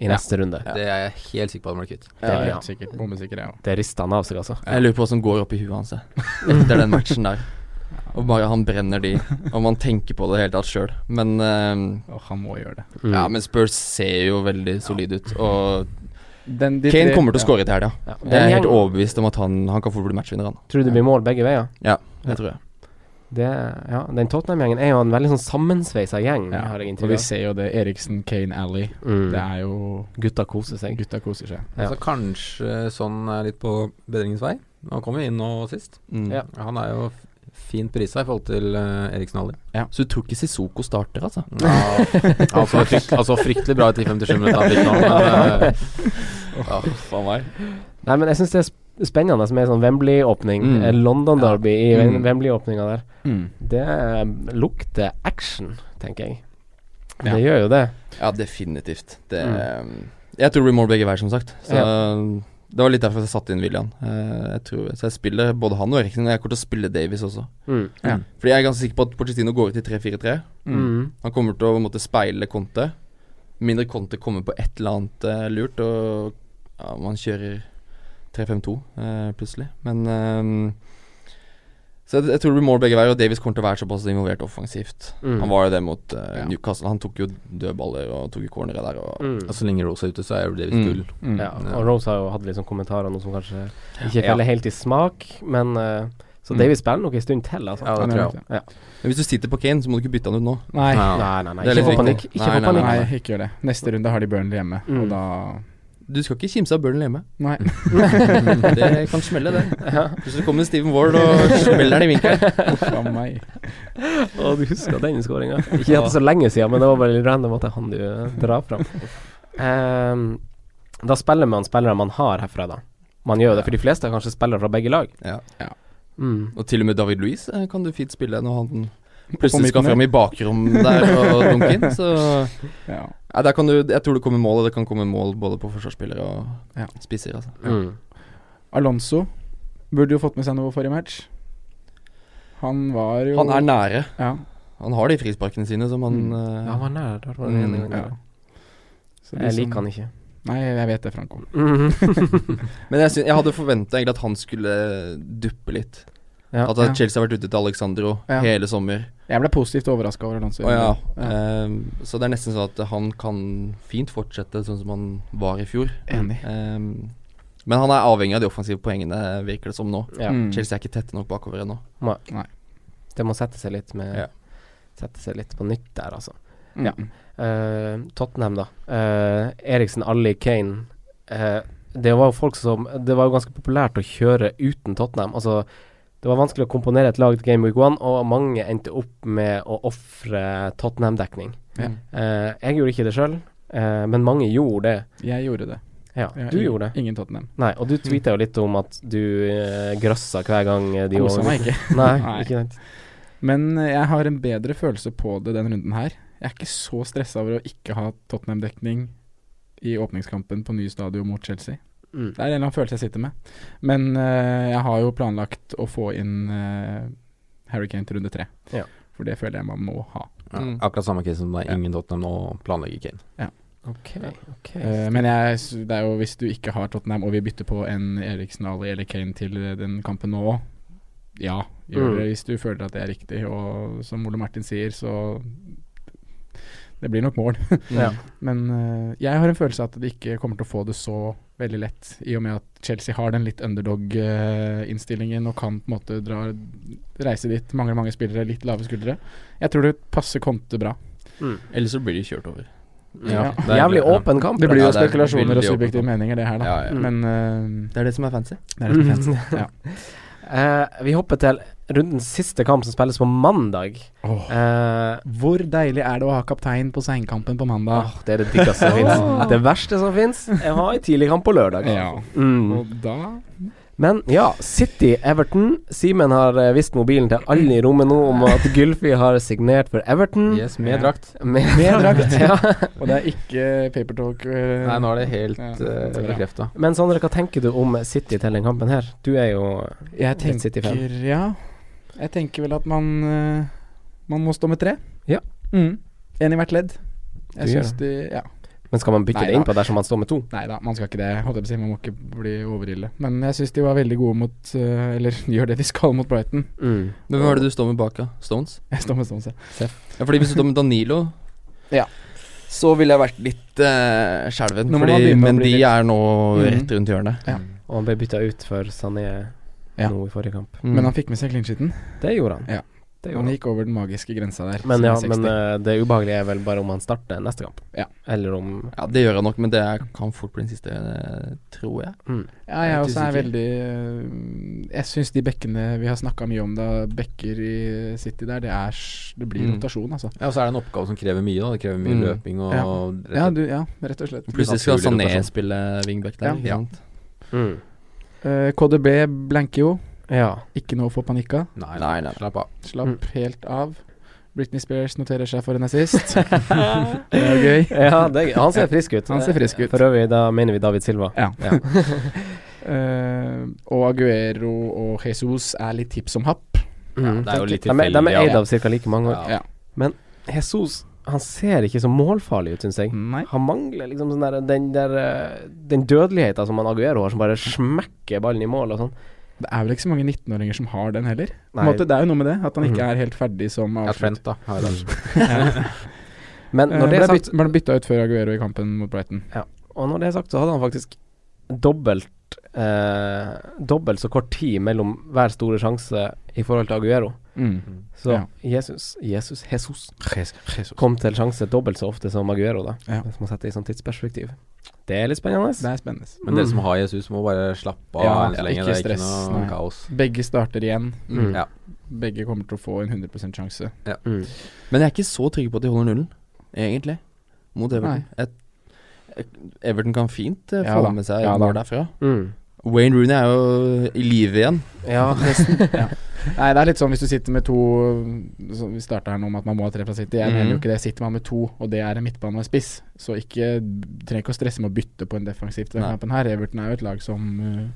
i neste runde. Det er jeg helt sikker på at han blir kvitt. Det blir han. helt sikkert. Bombesikker, jeg òg. Det rister han av seg, altså. Jeg lurer på hva som går opp i huet hans jeg, etter den matchen der. Og bare han brenner de, om han tenker på det i det hele tatt sjøl. Men eh, Og han må gjøre det. Ja, men Spurs ser jo veldig solid ut, og Den- de Kane tre- kommer til å skåre til helga. Ja. Jeg er Den helt gjengen overbevist om at han, han kan fort bli matchvinner, han. tror det blir mål begge veier. Ja, det tror jeg. Det, ja, den Tottenham-gjengen er jo en veldig sånn sammensveisa gjeng, Ja, har jeg Og inntrykk vi av. ser jo det. Eriksen, Kane, Alley. Mm. Det er jo Gutta koser seg. Gutta koser seg. Ja. Så kanskje sånn er litt på bedringens vei. Han kom jo inn nå sist. Mm. Ja. Han er jo f- fint prisa i forhold til eh, Eriksen Halli. Så du tror ikke Sissoko starter, altså? altså, frykt, altså fryktelig bra etter 57 minutter han fikk nå, men eh, ja, faen meg. Nei, men jeg syns det er sp- spennende med sånn Wembley-åpning. Mm. eh, London Derby i Wem- Mm. Wembley-åpninga der. Mm. Det eh, lukter action, tenker jeg. Ja. Det gjør jo det. Ja, definitivt. Det, eh, Jeg tror det blir mål begge veier, som sagt. Så Det var litt derfor jeg satte inn William. Eh, jeg tror, så jeg spiller både han og Eriksen. og Jeg kommer til å spille Davies også. Mm. Fordi jeg er ganske sikker på at Pochettino går ut i 3-4-3. Mm. Han kommer til å på en måte, speile Conte. Mindre Conte kommer på et eller annet eh, lurt, og ja, man kjører 3-5-2 eh, plutselig. Men eh, Så jeg, jeg tror det blir mål begge veier, og Davies kommer til å være såpass involvert offensivt. Mm. Han var jo det mot eh, Ja. Newcastle. Han tok jo dødballer og tok jo cornere der. Og, Mm. Og så lenge Rose er Altså, ute, så er jo Davis Mm. gull. Mm. Ja, Ja. og Rose har jo hatt litt sånn kommentarer nå som kanskje ikke Ja. faller helt i smak, men eh, Så Mm. Davies spiller nok en stund til, altså. Ja, det tror jeg òg. Men hvis du sitter på Kane, så må du ikke bytte han ut nå. Nei. Nei, nei, nei. Det er Ikke litt få panikk. viktig. Ikke Nei, få nei, panikk. Nei, ikke gjør det. Neste runde har de Burnley hjemme, Mm. og da Du skal ikke kimse av Burnley hjemme. Nei. Det kan smelle, det. Plutselig kommer Steven Ward og smeller den i vinkelen. Faen meg. Å, du husker den skåringa. Ikke at det er så lenge siden, men det var bare litt random at det er han du eh, drar fram. Ehm, da spiller man spillere man har herfra, da. Man gjør jo det, for de fleste er kanskje spillere fra begge lag. Ja. Mm. Og til og med David Louis eh, kan du fint spille når han midten plutselig skal der. fram i bakrom der og dunke inn. Så Ja. Nei, der kan du, jeg tror det kommer mål, og det kan komme mål både på forsvarsspillere og Ja. spisser. Altså. Mm. Alonso burde jo fått med seg noe forrige match. Han var jo Han er nære. ja. Han har de frisparkene sine som han Mm. eh, Ja, han var nær. Det var det Mm, ene gangen. ja. Så de Jeg som- liker han ikke. Nei, jeg vet det, Franco. Men jeg, syn- jeg hadde forventa egentlig at han skulle duppe litt. Ja, at ja. Chelsea har vært ute til Alexandro Ja. hele sommer. Jeg ble positivt overraska over Alonso. Å ja. Ja. Ehm, så det er nesten sånn at han kan fint fortsette sånn som han var i fjor. Eh, Enig. Ehm, men han er avhengig av de offensive poengene, virker det som nå. ja. Mm. Chelsea er ikke tette nok bakover ennå. Det må sette seg litt med Ja. Sette seg litt på nytt der, altså. Mm. Ja. Eh, Tottenham, da. Eh, Eriksen, Alli, Kane. Eh, det var jo folk som Det var jo ganske populært å kjøre uten Tottenham. Altså, det var vanskelig å komponere et lag til Game Week 1, og mange endte opp med å ofre Tottenham-dekning. Ja. Eh, jeg gjorde ikke det sjøl, eh, men mange gjorde det. Jeg gjorde det. Ja, Jeg- du gjorde det. Ingen Tottenham. Nei, og du tweeta jo litt om at du eh, grøssa hver gang eh, de Kosa meg ikke. Nei, Nei. ikke sant. Men eh, jeg har en bedre følelse på det den runden her. Jeg er ikke så stressa over å ikke ha Tottenham-dekning i åpningskampen på nye stadion mot Chelsea. Mm. Det er en eller annen følelse jeg sitter med. Men eh, jeg har jo planlagt å få inn eh, Harry Kane til runde tre. Ja. For det føler jeg man må ha. Ja, Mm. akkurat samme case som det er ingen Tottenham nå, planlegger Kane. Ok, ok. Eh, men jeg, s- det er jo hvis du ikke har Tottenham og vil bytte på en Eriksen Ali eller Kane til eh, den kampen nå òg, ja, gjør Mm. det hvis du føler at det er riktig. Og som Ole Martin sier, så det blir nok mål. Ja. Men eh, jeg har en følelse av at de ikke kommer til å få det så veldig lett, i og med at Chelsea har den litt underdog-innstillingen og kan på en måte dra, reise dit. Mangler mange spillere, litt lave skuldre. Jeg tror det passer Conte bra. Ellers så blir de kjørt over. Ja. det er- Jævlig åpen kamp. Det blir Ja, jo det er spekulasjoner og veldig åpent. subjektive meninger, det her, da. Ja, ja. Men eh, Det er det som er fancy. det er litt fint. Ja. Eh, vi hopper til rundens siste kamp som spilles på mandag. Åh. Eh, Hvor deilig er det å ha kaptein på seinkampen på mandag? åh, det er det diggeste som fins. Det verste som fins, er å ha en tidlig kamp på lørdag. Ja. Mm. Og da Men ja, City Everton. Simen har eh, vist mobilen til alle i rommet nå om at Gylfi har signert for Everton. Yes, med Ja. drakt. Med, Med drakt. ja. Og det er ikke papertalk. eh, Nei, nå er det helt eh, Ja. ja. Ja. bekrefta. Men Sondre, hva tenker du om City til den kampen her? Du er jo Jeg Litt City-fan. tenker Ja. Jeg tenker vel at man eh, Man må stå med tre. Ja. Mm. En i hvert ledd. Jeg Du gjør syns de Ja. Men skal man bytte Nei det inn da. på dersom man står med to? Nei da, man skal ikke det. Holdt jeg på å si, man må ikke bli overille. Men jeg syns de var veldig gode mot eh, Eller gjør det de skal mot Brighton. Mm. Hvem var det du står med bak, da? Stones? Jeg står med sånn, Stones, jeg. Ja, fordi hvis du står med Danilo Ja. Så ville jeg vært litt uh, skjelven, Nå må man fordi begynne å Mendy bli litt- er nå Mhm. rett rundt hjørnet. Og han ble bytta ut for Sané Ja. nå i forrige kamp. Mm. Men han fikk med seg clean-sheeten. Det gjorde han. Ja. Det gjorde Han han. gikk over den magiske grensa der. Men som ja, er 60. men eh, det ubehagelige er vel bare om han starter neste kamp. Ja. Eller om Ja, det gjør han nok, men det er- kan fort bli den siste, eh, tror jeg. Ja, jeg Jeg er også er usikker. veldig øh, Jeg syns de bekkene vi har snakka mye om, da, bekker i City der, det, er, s- det blir Mm. rotasjon, altså. Ja, og så er det en oppgave som krever mye. da Det krever mye Mm. løping og rett- Ja, du, ja, rett og slett. Plutselig skal sånn Naturlig Sané rotasjon. spille wingback der. Ja. ikke Ja. sant? mm. Eh, KDB blanker jo. Ja. Ikke noe å få panikk av. Nei, nei, Nei, nei, nei. slapp av. Slapp Mm. helt av. Britney Spears noterer seg for en assist. det er gøy. ja det, er gøy. han ser frisk ut. Han ser frisk ut. For øvrig, da mener vi David Silva. Ja. Eh, og Aguero og Jesus er litt hipp som happ. Mm. det er jo litt De er- de tilfeldig, er ja. eid av ca. like mange år. Ja. Ja. Jesus han ser ikke så målfarlig ut, syns jeg. Nei. Han mangler liksom sånn der, den der eh, Den dødeligheten som han Aguero har, som bare smekker ballen i mål og sånn. Det er vel ikke så mange 19-åringer som har den heller. På Nei. en måte, det er jo noe med det, at han ikke Mhm. er helt ferdig som Ja, avslutter. Trent, da. har jeg det. Men Når når det er sagt byt, Eh, ble bytta ut før Aguero i kampen mot Brighton. Og når det er sagt, så hadde han faktisk dobbelt eh, Dobbelt så kort tid mellom hver store sjanse i forhold til Aguero. Mm. Mhm. Så Ja. Jesus, Jesus, Jesus Jesus. kom til sjanse dobbelt så ofte som Aguero, da. Ja. Hvis man setter det i sånn tidsperspektiv. Det er litt spennende. Mm. Det er spennende. Men dere som har Jesus, må bare slappe av Ja, enn så lenge. ikke Det er ikke stress, noe nei. kaos. Begge starter igjen. Mm. Ja. Begge kommer til å få en 100 sjanse. Mm. Men jeg er ikke så trygg på at de holder nullen, egentlig, mot Everton. Nei. Et, et- Everton kan fint eh, Ja få da, med seg ja ja, da. derfra. Mm. Wayne Rooney er jo i live igjen. Ja. Nei, det er litt sånn hvis du sitter med to så Vi starta her nå med at man må ha tre fra City. Jeg Mhm. mener jo ikke det. Sitter man med to, og det er en midtbane og en spiss, så ikke trenger ikke å stresse med å bytte på en defensiv til denne Nei. kampen her. Everton er jo et lag som eh,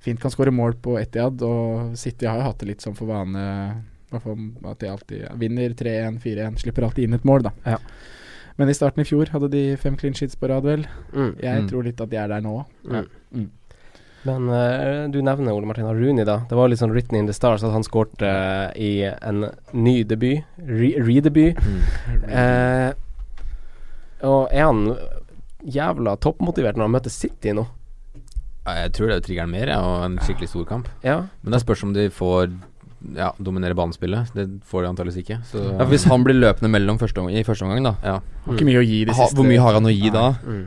fint kan skåre mål på Etiad, og City har jo hatt det litt sånn for vane i hvert fall at de alltid vinner 3-1, 4-1, slipper alltid inn et mål, da. Ja. Men i starten i fjor hadde de fem clean sheets på rad, vel. Mm. Jeg Mm. tror litt at de er der nå. Mm. Mm. Men eh, du nevner Ole Martin Rooney, da. Det var litt sånn written in the stars at han skårte eh, i en ny debut. Re- Re-debut. Mm. Eh, og er han jævla toppmotivert når han møter City nå? Ja, Jeg tror det trigger han mer, ja, og en skikkelig stor kamp. Ja. Men det spørs om de får ja, dominere banespillet. Det får de antakeligvis ikke. Så Ja, for hvis han blir løpende mellom første omgang, i første omgang, da ja. Har ikke mye å gi de Mm. ha, siste Hvor mye har han å gi da? Mm.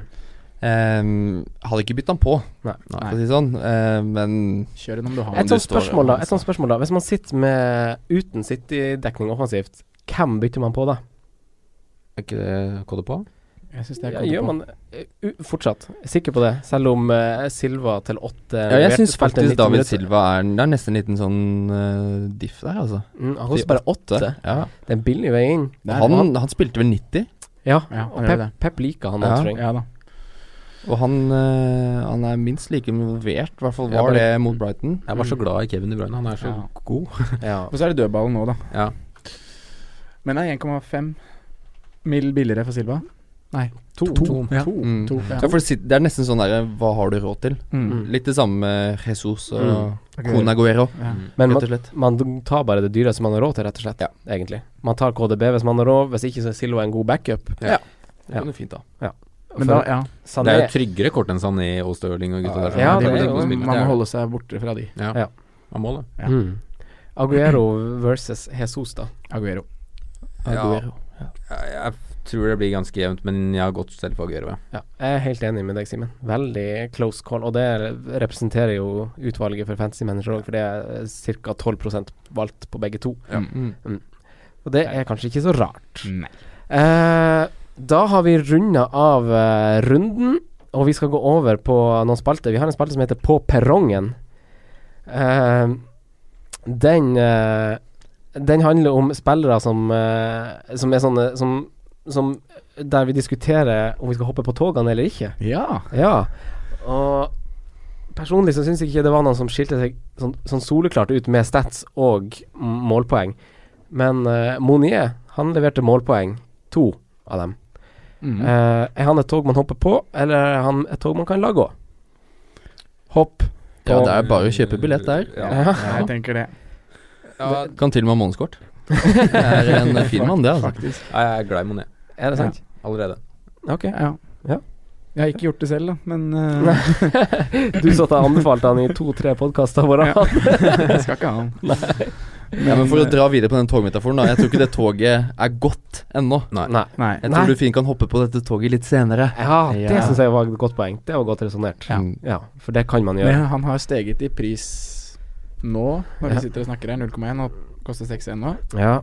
Um, hadde ikke bytta han på, Nei. for å si det sånn. Eh, men Kjør den om du har Jeg Et den. tror- sånt du står spørsmål, da. der, Et sånt spørsmål da Hvis man sitter med uten City-dekning offensivt, hvem bytter man på da? Er ikke det kode på? Jeg synes det er Ja, kode gjør på. man eh, u fortsatt? Sikker på det? Selv om eh, Silva til åtte ja, jeg leverte- syns spilte 90 faktisk David minutter. Silva er Det er nesten en liten sånn eh, diff der, altså. mm, Han koster bare åtte. Ja. Det er en billig vei inn. Der Han, var han spilte vel 90, Ja, Ja, og han gjør Pep, Pep liker han, Ja. tror jeg. Ja da. og han, eh, han er minst like involvert, i hvert fall Jeg var bare- det mot Brighton. Mm. Jeg var så glad i Kevin De Bruyne. Han er så Ja. god. Ja. Og så er det dødballen nå, da. Ja. Men det er 1,5 mill billigere for Silva. Nei, to. To. Ja. To. Mm. To, ja. Ja, for det sit- det er nesten sånn derre Hva har du råd til? Mm. Litt det samme med Jesus og Mm. Kona Guero, Ja. Men rett man, og slett. man tar bare det dyreste man har råd til, rett og slett. Egentlig. Man tar KDB hvis man har råd, hvis ikke så er Silva en god backup. Det er jo fint, da. Men da, ja. Sané, Det er jo tryggere kort enn Sané og Stirling og gutta der. Ja, det det er må- jo- liksom det- det man må er- holde seg borte fra de. Ja. Ja. Man må det. ja. mm. Aguero versus Jesus, da. Aguero. Ja. Aguero. Jeg, jeg tror det blir ganske jevnt, men jeg har gått selv på Aguero. ja. Jeg er helt enig med deg, Simen. Veldig close call. Og det representerer jo utvalget for fancy manager òg, for det er ca. 12 valgt på begge to. Mm. Og det er kanskje ikke så rart. Nei. Eh, da har vi runda av eh, runden, og vi skal gå over på noen spalter. Vi har en spalte som heter På perrongen. Eh, den eh, Den handler om spillere som eh, Som er sånne som, som Der vi diskuterer om vi skal hoppe på togene eller ikke. Ja. Ja, og personlig så syns jeg ikke det var noen som skilte seg sånn, sånn soleklart ut med stats og m- målpoeng. Men eh, Monier, han leverte målpoeng, to av dem. Mhm. Eh, er han et tog man hopper på, eller er han et tog man kan la gå? Hopp. Ja, det er bare å kjøpe billett der. Ja, jeg tenker det. Ja, Kan til og med ha månedskort. Det er en fin mann, det, altså. Faktisk. jeg er glad i Monet Er det sant? allerede. Ok. Ja. Ja. Jeg har ikke gjort det selv, da, men eh, Du satt og anbefalte han i to-tre podkaster våre. jeg skal ikke ha eh, den. Ja, men For å dra videre på den togmetaforen, da. Jeg tror ikke det toget er gått ennå. Nei. Nei. Jeg Nei. tror du fint kan hoppe på dette toget litt senere. Ja, det Ja. synes jeg var et godt poeng. Det var godt resonnert. Ja. Ja, for det kan man gjøre. Men han har steget i pris nå, når Ja. vi sitter og snakker her. 0,1 og koster 6,1 nå. Ja.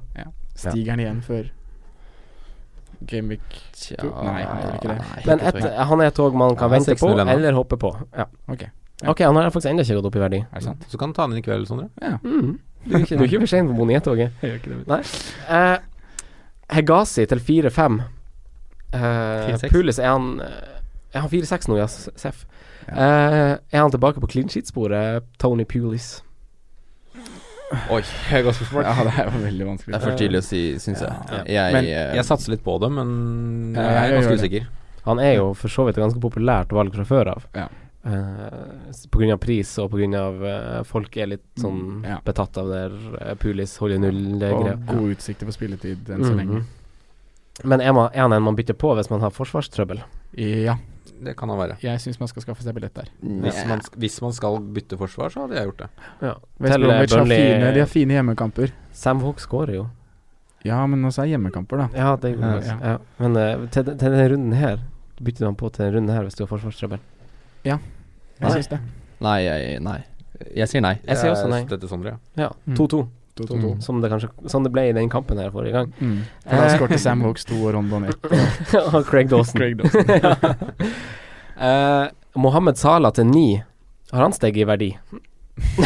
Stiger han igjen før Gameweek Tja, Nei, jeg gjør ikke det. nei, Men det et, tror jeg ikke. han er et tog man kan Ja, vente på 6-0 ennå. eller hoppe på. Ja. Ok. Ok, han har faktisk ennå ikke gått opp i verdi. Er det sant? Så kan du ta den inn i kveld, Sondre. Du er ikke, du er ikke for sein på Bonietoget. Jeg gjør ikke det. Nei. Eh, Hegazi til 4-5. Eh, 4-6. Pulis, er han eh, Er han 4-6 nå, ja, S- Seff? Eh, er han tilbake på clean sheet-sporet, Tony Pulis? Oi, jeg er ganske smart. Ja, det er jo veldig vanskelig. Det er for tidlig å si, syns jeg. Jeg, Men eh, Jeg satser litt på det, men Ja, jeg er jeg gjør ganske det. usikker. Han er jo for så vidt et ganske populært valg fra før av. Ja. Eh, s- på grunn av pris og på grunn av eh, folk er litt sånn Mm, ja. betatt av det der eh, Pulis holder Og null-greia. gode utsikter for spilletid enn så lenge. Men er, man, er han en man bytter på hvis man har forsvarstrøbbel? Ja, Det kan han være. jeg syns man skal skaffe seg billett der. Hvis man, sk- hvis man skal bytte forsvar, så hadde jeg gjort det. Ja. West Til, eh, Bromwich har Burnley- fine, de har fine hjemmekamper. Sam Hook skårer jo. Ja, men også er hjemmekamper, da. Ja, det gjorde han. Ja, faktisk. Ja. Men eh, til, til denne runden her bytter du han på til denne runden her hvis du har forsvarstrøbbel. Jeg syns det. Nei, jeg, nei. Jeg sier nei. Jeg sier også nei. støtter Sondre, ja. Ja, Mm. 2-2, 2-2. som det kanskje Som det ble i den kampen her forrige gang. Mm. For da Eh. skårte Sam Vokes to og Rondon ett. Og Craig Dawson. Craig Dawson. Eh, Mohammed Salah til 9. Har han steget i verdi?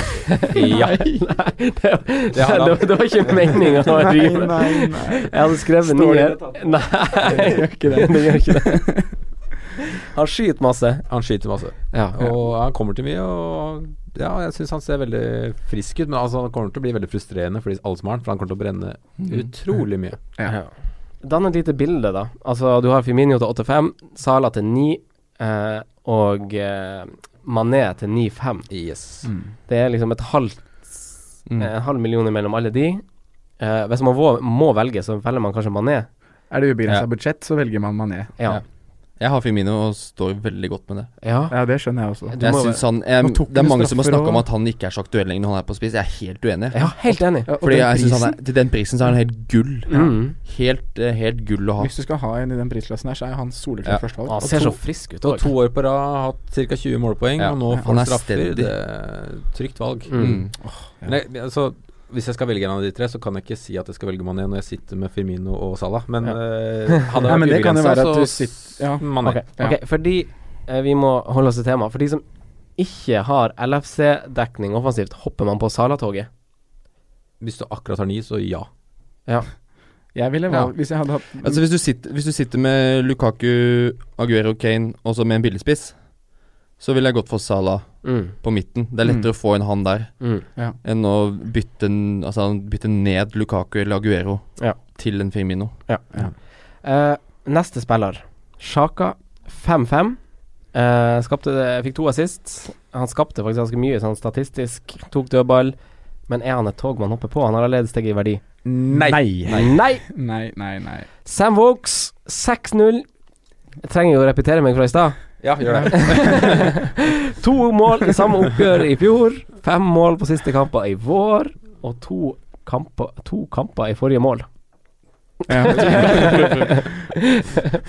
ja. Nei, det, var- Det har han. det, var- det var ikke meninga å rive. nei, nei. Jeg hadde skrevet Står nye det i Nei, Det gjør ikke det. gjør ikke det. Han skyter masse. Han skyter masse. Ja, og Og han kommer til mye, og ja, jeg syns han ser veldig frisk ut. Men altså, han kommer til å bli veldig frustrerende for de- alle som har han, for han kommer til å brenne utrolig mye. Ja. Dann et lite bilde, da. Altså, du har Firmino til 8-5, Sala til 9 eh, og eh, Mané til 9-5. Yes. Mm. Det er liksom et halvt Mm. En halv million mellom alle de. Eh, hvis man må, må velge, så velger man kanskje Mané. Er det ubegrensa Ja. budsjett, så velger man Mané. Ja. Jeg har Firmino og står veldig godt med det. ja. Ja, det skjønner jeg også. Du Jeg må synes han eh, Nå tok Det er du mange som har straffer snakka om og- at han ikke er så aktuell lenger når han er på spiss. Jeg er helt uenig. Ja, helt enig. Ja, og Fordi den jeg synes han prisen, er, Til den prisen så er han helt gull. Mm. Helt, eh, helt gull å ha. Hvis du skal ha en i den prisklassen her, så er han soleklart Ja. førstevalg. Han Og ser to- så frisk ut Og òg. to år på rad, har hatt ca. 20 målpoeng, Ja. og nå Han får er han straffer. steady. Det er trygt valg. Mm. Men jeg, altså, hvis jeg skal velge en av de tre, så kan jeg ikke si at jeg skal velge Mané når jeg sitter med Firmino og Salah, men Ja. eh, hadde Nei, jeg men vært det kan jo ubegrensa, være at så du s- sitter- ja. Mané. Ok, ok, fordi eh, vi må holde oss til temaet. For de som ikke har LFC-dekning offensivt, hopper man på Salatoget. Hvis du akkurat har ni, så ja. Jeg ville valgt, hvis jeg hadde hatt Altså hvis du, sitter, hvis du sitter med Lukaku, Aguero, Kane og så med en billigspiss, så ville jeg gått for Salah Mm. på midten. Det er lettere å få en han der Mm. enn å bytte, en- altså, bytte ned Lukaku eller Aguero Ja. til en Firmino. Eh, neste spiller, Sjaka 5-5. Eh, skapte, fikk to assist. Han skapte faktisk ganske mye sånn statistisk. Tok dødball. Men er han et tog man hopper på? Han har allerede steget i verdi. Nei. Nei, Nei! nei, nei. nei. Sam Vokes 6-0. Jeg trenger jo å repetere meg fra i stad. Ja, gjør det. To mål i samme oppgjør i fjor. Fem mål på siste kamper i vår. Og to kamper, to kamper i forrige mål. Ja.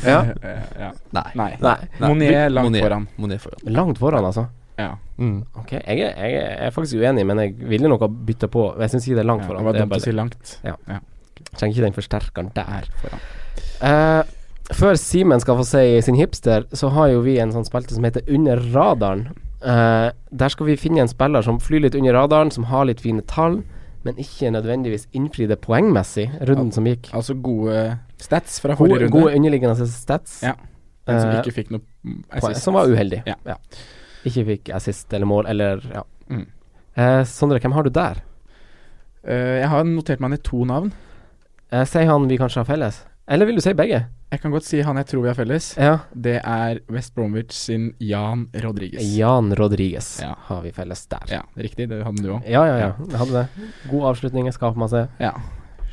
Ja. ja. Nei. Nei. Nei. Monet er langt Monet- foran. Monet foran. Langt foran, altså. Ja. Mm. Ok, jeg er, jeg er- jeg er faktisk uenig, men jeg ville nok ha bytta på. Jeg syns ikke det er langt Ja, foran. det var Det er dumt bare, å si langt. trenger ikke den forsterkeren der. Her foran. Eh, før Simen skal få si sin hipster, så har jo vi en sånn spalte som heter Under radaren. Eh, der skal vi finne en spiller som flyr litt under radaren, som har litt fine tall, men ikke nødvendigvis innfridde poengmessig runden som gikk. Altså gode stats fra forrige Gode, gode runde. underliggende stats, Ja. Den som eh, ikke fikk noe mm, poeng, assist. som var uheldig. Ja. Ikke fikk assist eller mål, eller ja. Mm. Eh, Sondre, hvem har du der? Eh, jeg har notert meg ned to navn. Eh, Sier han vi kanskje har felles? Eller vil du si begge? Jeg kan godt si han jeg tror vi har felles. Ja. Det er West Bromwich sin Jan Rodriguez. Jan Rodriguez har vi felles der. Ja, riktig. Det hadde du òg. Ja, ja, ja. Jeg hadde det. God avslutning, jeg skaper masse. Ja.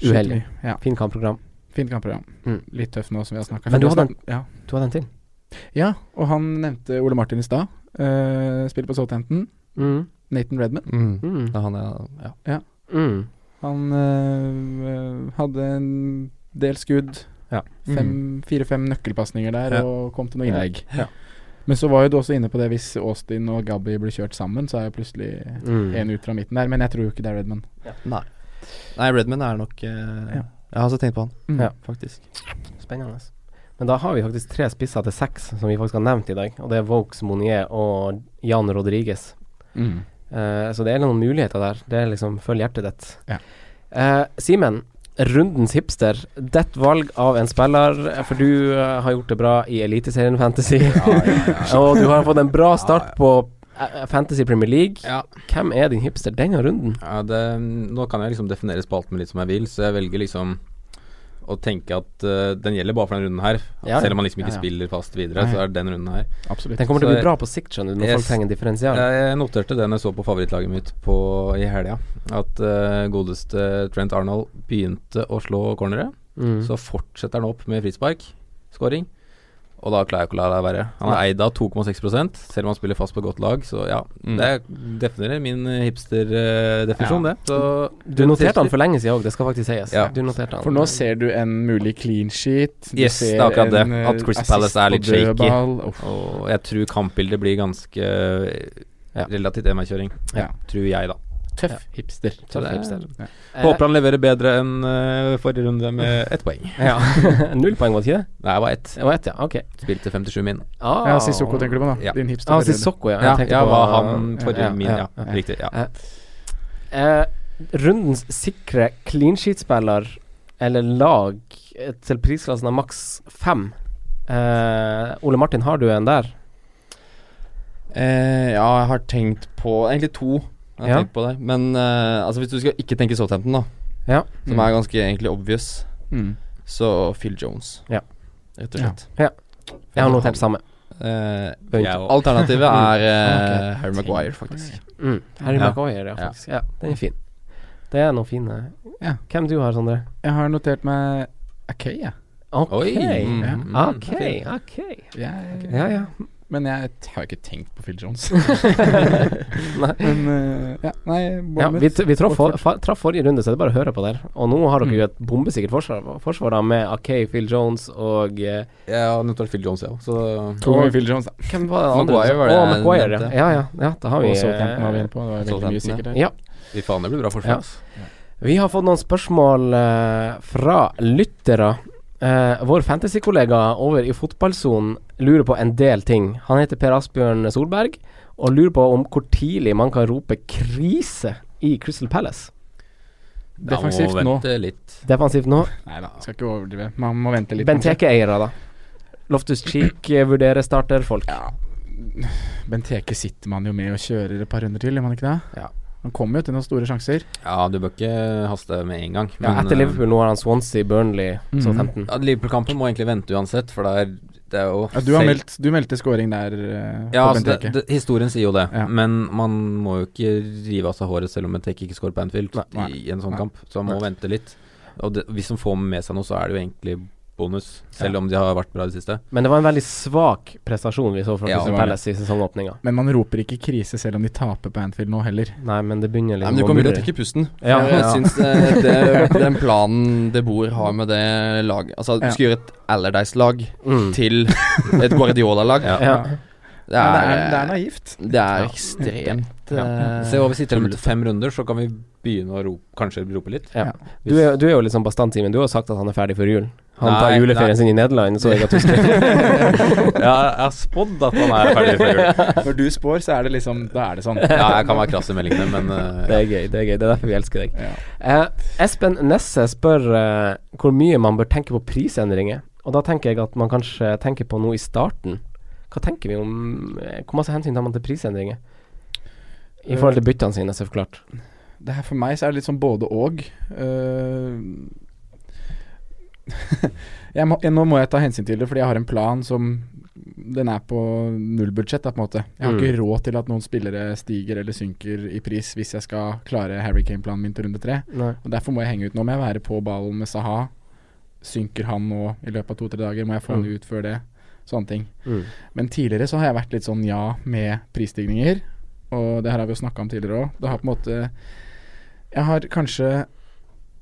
Uheldig. Skikkelig, Ja. Fint kampprogram. Fint kampprogram. Mm. Litt tøff nå som vi har snakka Men du hadde en- Ja. Du hadde en til. ja, og han nevnte Ole Martin i stad. Eh, spiller på Southampton. Mm. Nathan Redman. Mm. Mm. Det er han jeg ja. Mm. Han eh, hadde en del skudd. Ja. Mm. Fem- Fire-fem nøkkelpasninger der, Ja. og kom til noe Ja. innlegg. Men så var jo du også inne på det hvis Austin og Gabby blir kjørt sammen, så er jo plutselig Mm. en ut fra midten der. Men jeg tror jo ikke det er Redman. Nei. Nei, Redman er nok eh, Ja. Jeg har også tenkt på han, Mm. Ja. faktisk. Spennende. Men da har vi faktisk tre spisser til seks som vi faktisk har nevnt i dag, og det er Vokes, Monier og Jan Rodriguez. Mm. Eh, så det er noen muligheter der. Det er liksom følg hjertet ditt. Ja. Eh, Simen, rundens hipster. Ditt valg av en spiller, for du eh, har gjort det bra i Eliteserien Fantasy, og du har fått en bra start på eh, Fantasy Premier League. Ja. Hvem er din hipster denne runden? Ja, det, nå kan jeg liksom definere spalten min litt som jeg vil, så jeg velger liksom å tenke at eh, den gjelder bare for den runden her. At Ja, ja. Selv om man liksom ikke Ja, ja. spiller fast videre, Nei. så er det den runden her. Absolutt. Den kommer til å Så bli jeg- bra på sikt, skjønner du, når Yes. Eh, folk trenger en differensial. Jeg, jeg noterte den jeg så på favorittlaget mitt på, i helga, at eh, godeste Trent Arnold begynte å slå cornere. Mm. Så fortsetter han opp med frisparkskåring. Og da klarer jeg ikke å la det være. Han er eid av 2,6 selv om han spiller fast på godt lag. Så ja, Mm. det definerer min eh, hipster-definisjon, det. Så Du noterte han for lenge siden òg, det skal faktisk sies. Ja. Du noterte han. For nå ser du en mulig clean sheet. Du Yes, ser det er akkurat det. en, eh, At Crystal assist Palace er på litt shaky. dødball. Uff. Og jeg tror kampbildet blir ganske eh, Ja. relativt enveiskjøring. Ja. Tror jeg, da. Tøff hipster. Så det er- hipster. Eh, Håper han leverer bedre enn eh, forrige runde med ett poeng. Ja. Eh, Null poeng, var det ikke det? Nei, det var ett. Det var ett, ja. Ok. Spilte 57 min. Ah. Ja, Sissoko tenker du på, da. Ja. Din hipster. Ah, Sissoko, ja. Ja, Jeg tenkte ja på- var han forrige ja, min, ja, ja. ja. Riktig. ja Ja. Eh, rundens sikre clean sheet-spiller, eller lag, eh, til prisklassen av maks fem. Eh, Ole Martin, har du en der? Eh, ja, jeg har tenkt på Egentlig to. Jeg har Ja. tenkt på det Men eh, altså hvis du skal ikke tenke Southampton, da, Ja. som Mm. er ganske egentlig obvious, Mm. så Phil Jones. Ja. Rett og slett. Jeg har notert samme. Eh, Bunt. Jeg og- alternativet er Mm. eh, Ok. Harry Maguire, faktisk. Mm. Harry Ja. Maguire, ja, Ja. faktisk. Ja. den er fin. Det er noen fine Ja. Hvem du har, Sondre? Jeg har notert meg OK, jeg. Ok. Oi! Mm, Ja. mm, Ok, fint. ok. Jeg- Ja, ja. Men jeg t- har ikke tenkt på Phil Jones. Nei. Men eh, ja, nei, Ja, Bournemouth. vi t- vi traff for, Watford. fa- traff forrige runde, så det er bare å høre på der. Og nå har dere Mm. jo et bombesikkert forsvar, forsvar da, med AK, Phil Jones og eh, Jeg har notert Phil Jones, jeg òg, så To ganger Phil Jones, da. Hvem var det andre Maguire, som- Å, var det Maguire, Maguire, ja. ja. Ja, ja. ja da har Og vi, Southampton var vi eh, inne på. Det var veldig mye Southampton, sikkert ja. der. ja. Fy faen, det blir bra Ja. forsvar. ass. vi har fått noen spørsmål eh, fra lyttere. Eh, vår fantasykollega over i fotballsonen lurer på en del ting. Han heter Per Asbjørn Solberg og lurer på om hvor tidlig man kan rope 'krise' i Crystal Palace. Defensivt Da må nå. vente litt. Defensivt nå. Nei da, skal ikke overdrive. Man må vente litt. Benteke-eiere, da. Loftus Cheek eh, vurderer starterfolk. Ja. Benteke sitter man jo med og kjører et par runder til, gjør man ikke det? Ja. Han kommer jo til noen store sjanser. Ja, du bør ikke haste med en gang. Ja, men, etter eh, Liverpool nå har han Swansea, Burnley, Mhm. Southampton. Ja, Liverpool-kampen må egentlig vente uansett, for det er, det er jo Ja, du, har selv- meldt, du meldte scoring der eh, ja, på altså, Benteke. det, det, Historien sier jo det, Ja. men man må jo ikke rive av seg håret selv om Benteke ikke scorer på Anfield Nei. i en sånn Nei. kamp, så man må Nei. vente litt. Og det, hvis de får med seg noe, så er det jo egentlig bonus, selv om de har vært bra i det siste. Men det var en veldig svak prestasjon vi så fra Ja, Crystal det var det. Palace i sesongåpninga. Men man roper ikke krise selv om de taper på Anfield nå heller. Nei, men det begynner Nei, litt men du å kommer til å murre. trekke pusten. Ja, For ja. Jeg syns det, det, den planen De Boer har med det laget Altså, du Ja. skal gjøre et Allardyce-lag Mm. til et Guardiola-lag. Ja. Det Men er, det, er, det er naivt. det er ekstremt eh, Se over sitter med fem runder, så kan vi begynne å rope, kanskje rope litt. Ja. Du, er, du er jo litt sånn bastant, Simen. Du har sagt at han er ferdig før jul. Han Nei, tar nei. juleferien sin i Nederland, så jeg at du skrev ja, jeg har spådd at han er ferdig før jul. Når du spår, så er det liksom Da er det sånn. Ja, jeg kan være krass i meldingene, men eh, Det er gøy, det er gøy. Det er derfor vi elsker deg. Ja. Eh, Espen Nesse spør eh, hvor mye man bør tenke på prisendringer. Og da tenker jeg at man kanskje tenker på noe i starten. Hva tenker vi om eh, Hvor masse hensyn tar man til prisendringer? I forhold til byttene sine, så klart. Det her for meg så er det litt sånn både og. Eh, jeg må, jeg, nå må jeg ta hensyn til det, fordi jeg har en plan som Den er på nullbudsjett, da, på en måte. Jeg har Mm. ikke råd til at noen spillere stiger eller synker i pris hvis jeg skal klare Harry Kane-planen min til runde tre. Nei. Og Derfor må jeg henge ut. Nå må jeg være på ballen med Saha. Synker han nå i løpet av to-tre dager? Må jeg få Mm. han ut før det? Sånne ting. Mm. Men tidligere så har jeg vært litt sånn ja med prisstigninger, og det her har vi jo snakka om tidligere òg. Det har på en måte Jeg har kanskje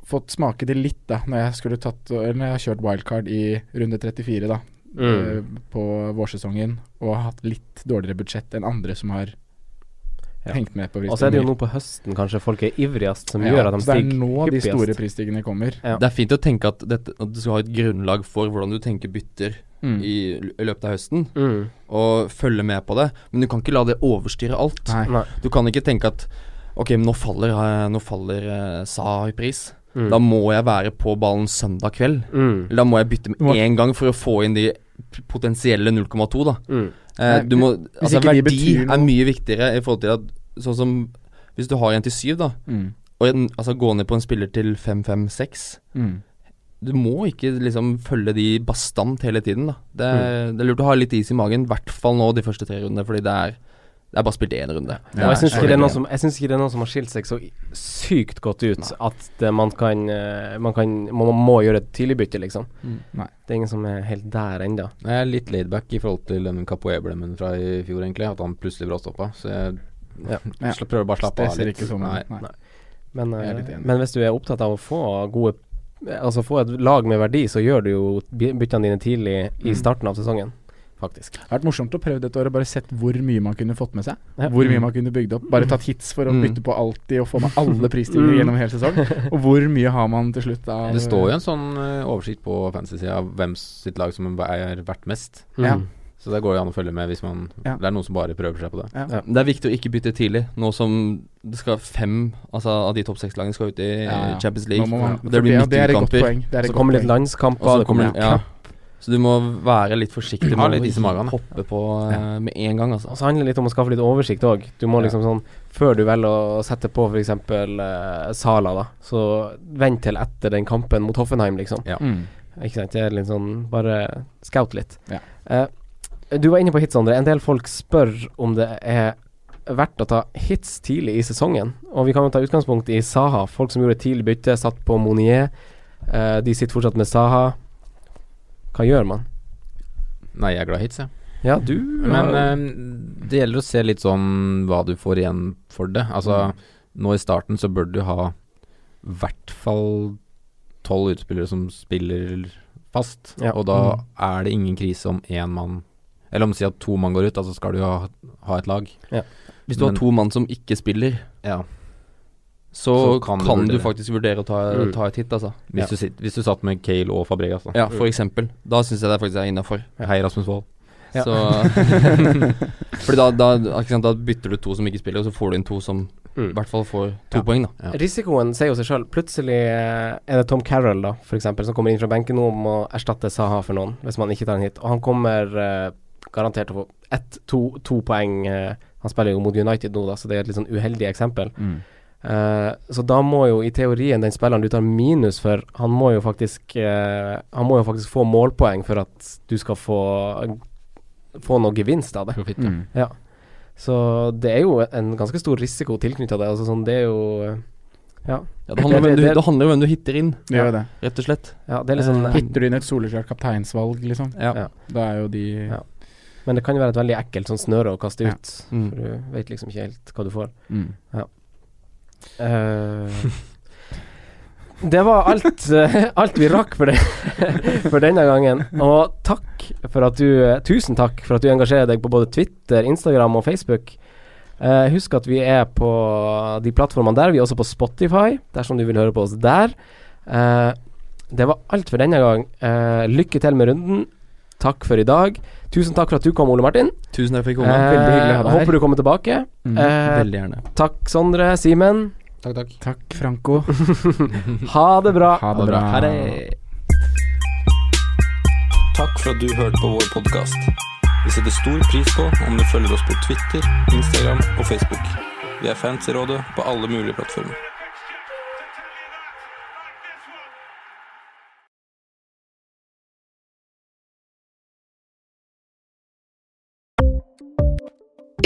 fått smake det litt, da, når jeg skulle tatt Eller når jeg har kjørt wildcard i runde 34, da, Mm. eh, på vårsesongen, og har hatt litt dårligere budsjett enn andre som har Ja. hengt med på Og så er det jo prisstigninger. nå på høsten kanskje folk er ivrigst, som Ja, gjør at de så det er stiger nå de hyppigst. store prisstigningene kommer. Ja. Det er fint å tenke at, dette, at du skal ha et grunnlag for hvordan du tenker bytter Mm. i, l- i løpet av høsten, Mm. og følge med på det. Men du kan ikke la det overstyre alt. Nei. Nei. Du kan ikke tenke at Ok, men nå faller, eh, nå faller eh, SA i pris. Mm. Da må jeg være på ballen søndag kveld. Mm. Eller da må jeg bytte Du med må- én gang for å få inn de p- potensielle 0,2, da. Mm. Eh, Nei, du må, hvis altså, ikke de verdi betyr noe- er mye viktigere i forhold til at Sånn som hvis du har en til syv, da, Mm. og en, altså, gå ned på en spiller til fem, fem, seks Mm. Du må ikke liksom følge de bastant hele tiden, da. Det er, Mm. det er lurt å ha litt is i magen, i hvert fall nå de første tre rundene, fordi det er, det er bare spilt én runde. Og jeg syns er ikke, det er veldig noen som- jeg synes ikke det er noen som har skilt seg så i- sykt godt ut at det, man kan, eh, man kan man må gjøre et tidligbytte, liksom. Mm. Nei. Det er ingen som er helt der ennå. Nei, Jeg er litt laidback i forhold til den Capoe-blemmen fra i fjor, egentlig. At han plutselig bråstoppa. Så jeg Ja. Ja. sl- prøver bare å slappe Det av ser litt. ikke sånn Nei. ut. Nei. Men, Jeg er litt eh, enig. men hvis du er opptatt av å få gode Altså få et lag med verdi, så gjør du jo by- byttene dine tidlig i Mm. starten av sesongen, faktisk. Det har vært morsomt å prøve dette året og bare sett hvor mye man kunne fått med seg. Ja. Hvor mye man kunne bygd opp. Bare tatt hits for å Mm. bytte på alltid og få med alle prisstigninger Mm. gjennom hele sesong. Og hvor mye har man til slutt av Det står jo en sånn eh, oversikt på fantasy av hvem sitt lag som er verdt mest. Ja. Mm. Så det går jo an å følge med hvis man Ja. Det er noen som bare prøver seg på det. Det er viktig å ikke bytte tidlig, nå som det skal fem altså, av de topp seks lagene skal ut i Ja, ja. Champions Nå League. må man- Og det blir for det er et godt midtukekamper. poeng. Det er et Så godt kommer litt poeng. landskamper. Og så det kommer kommer- ja. Så du må være litt forsiktig Ha med liksom litt is i magen, da. hoppe på eh, med en gang, altså. Og så handler det litt om å skaffe litt oversikt òg. Du må liksom sånn Før du velger å sette på f.eks. Uh, Sala, da, så vent til etter den kampen mot Hoffenheim, liksom. Ja. Mm. Ikke sant? Det er litt sånn Bare scout litt. Ja. Eh, du var inne på hits, Sondre. En del folk spør om det er verdt å ta hits tidlig i sesongen. Og vi kan jo ta utgangspunkt i Saha. Folk som gjorde et tidlig bytte, satt på Monier. Eh, de sitter fortsatt med Saha. Hva gjør man? Nei, jeg er glad i hits, jeg. Ja, du Men eh, det gjelder å se litt sånn hva du får igjen for det. Mm. Altså, nå i starten så bør du ha i hvert fall tolv utspillere som spiller fast, Ja. og da Mm. er det ingen krise om én mann Eller om si at to mann går ut, da så skal du jo ha, ha et lag. Hvis du Men- har to mann som ikke spiller, Ja. så, Så kan kan, du du vurdere. faktisk vurdere å ta, Mm. ta et hit, altså. Hvis, Ja. du, sitt- hvis du satt med Kale og Fabregas, da. Ja, for eksempel. Da syns jeg det faktisk er innafor. Hei, Rasmus Wold. Ja. Så Fordi da, da, ikke sant, da bytter du to som ikke spiller, og så får du inn to som i Mm. hvert fall får to poeng, da. Ja. Risikoen sier jo seg sjøl. Plutselig eh, er det Tom Carroll da, for eksempel, som kommer inn fra benken nå om å erstatte Saha for noen, hvis man ikke tar en hit. Og han kommer eh, garantert til å få ett, to, to poeng. eh, han spiller jo mot United nå, da, så det er et litt sånn uheldig eksempel. Mm. Eh, så da må jo i teorien den spilleren du tar minus for, han må jo faktisk eh, Han må jo faktisk få målpoeng for at du skal få Få noe gevinst av det. Profitt, ja. Mm. Ja. Så det er jo en ganske stor risiko tilknytta det. Altså sånn, det er jo Ja, det, handler om Det- hvem du, Mm. det- det handler om hvem du hitter inn, Det gjør jo det. rett og slett. Ja, det er Eh, litt sånn Hitter du inn et soleklart kapteinsvalg, liksom, Ja. Ja. da er jo de Ja. Men det kan jo være et veldig ekkelt sånn snøre å kaste Ja. ut. Mm. For du vet liksom ikke helt hva du får. Mm. Eh, det var alt, eh, alt vi rakk for, det, for denne gangen. Og takk for at du eh, Tusen takk for at du engasjerer deg på både Twitter, Instagram og Facebook. Eh, husk at vi er på de plattformene der. Vi er også på Spotify, dersom du vil høre på oss der. Eh, det var alt for denne gang. Eh, lykke til med runden. Takk for i dag. Tusen takk for at du kom, Ole Martin. Tusen takk for at jeg fikk komme. Eh, Veldig hyggelig å ha deg her. håper du kommer tilbake. Eh, Veldig gjerne. takk, Sondre, Simen. Takk, takk. Takk, Franco. Ha det bra. Ha det bra. Ha det. Takk for at du hørte på vår podkast. Vi setter stor pris på om du følger oss på Twitter, Instagram og Facebook. Vi er fans i rådet på alle mulige plattformer.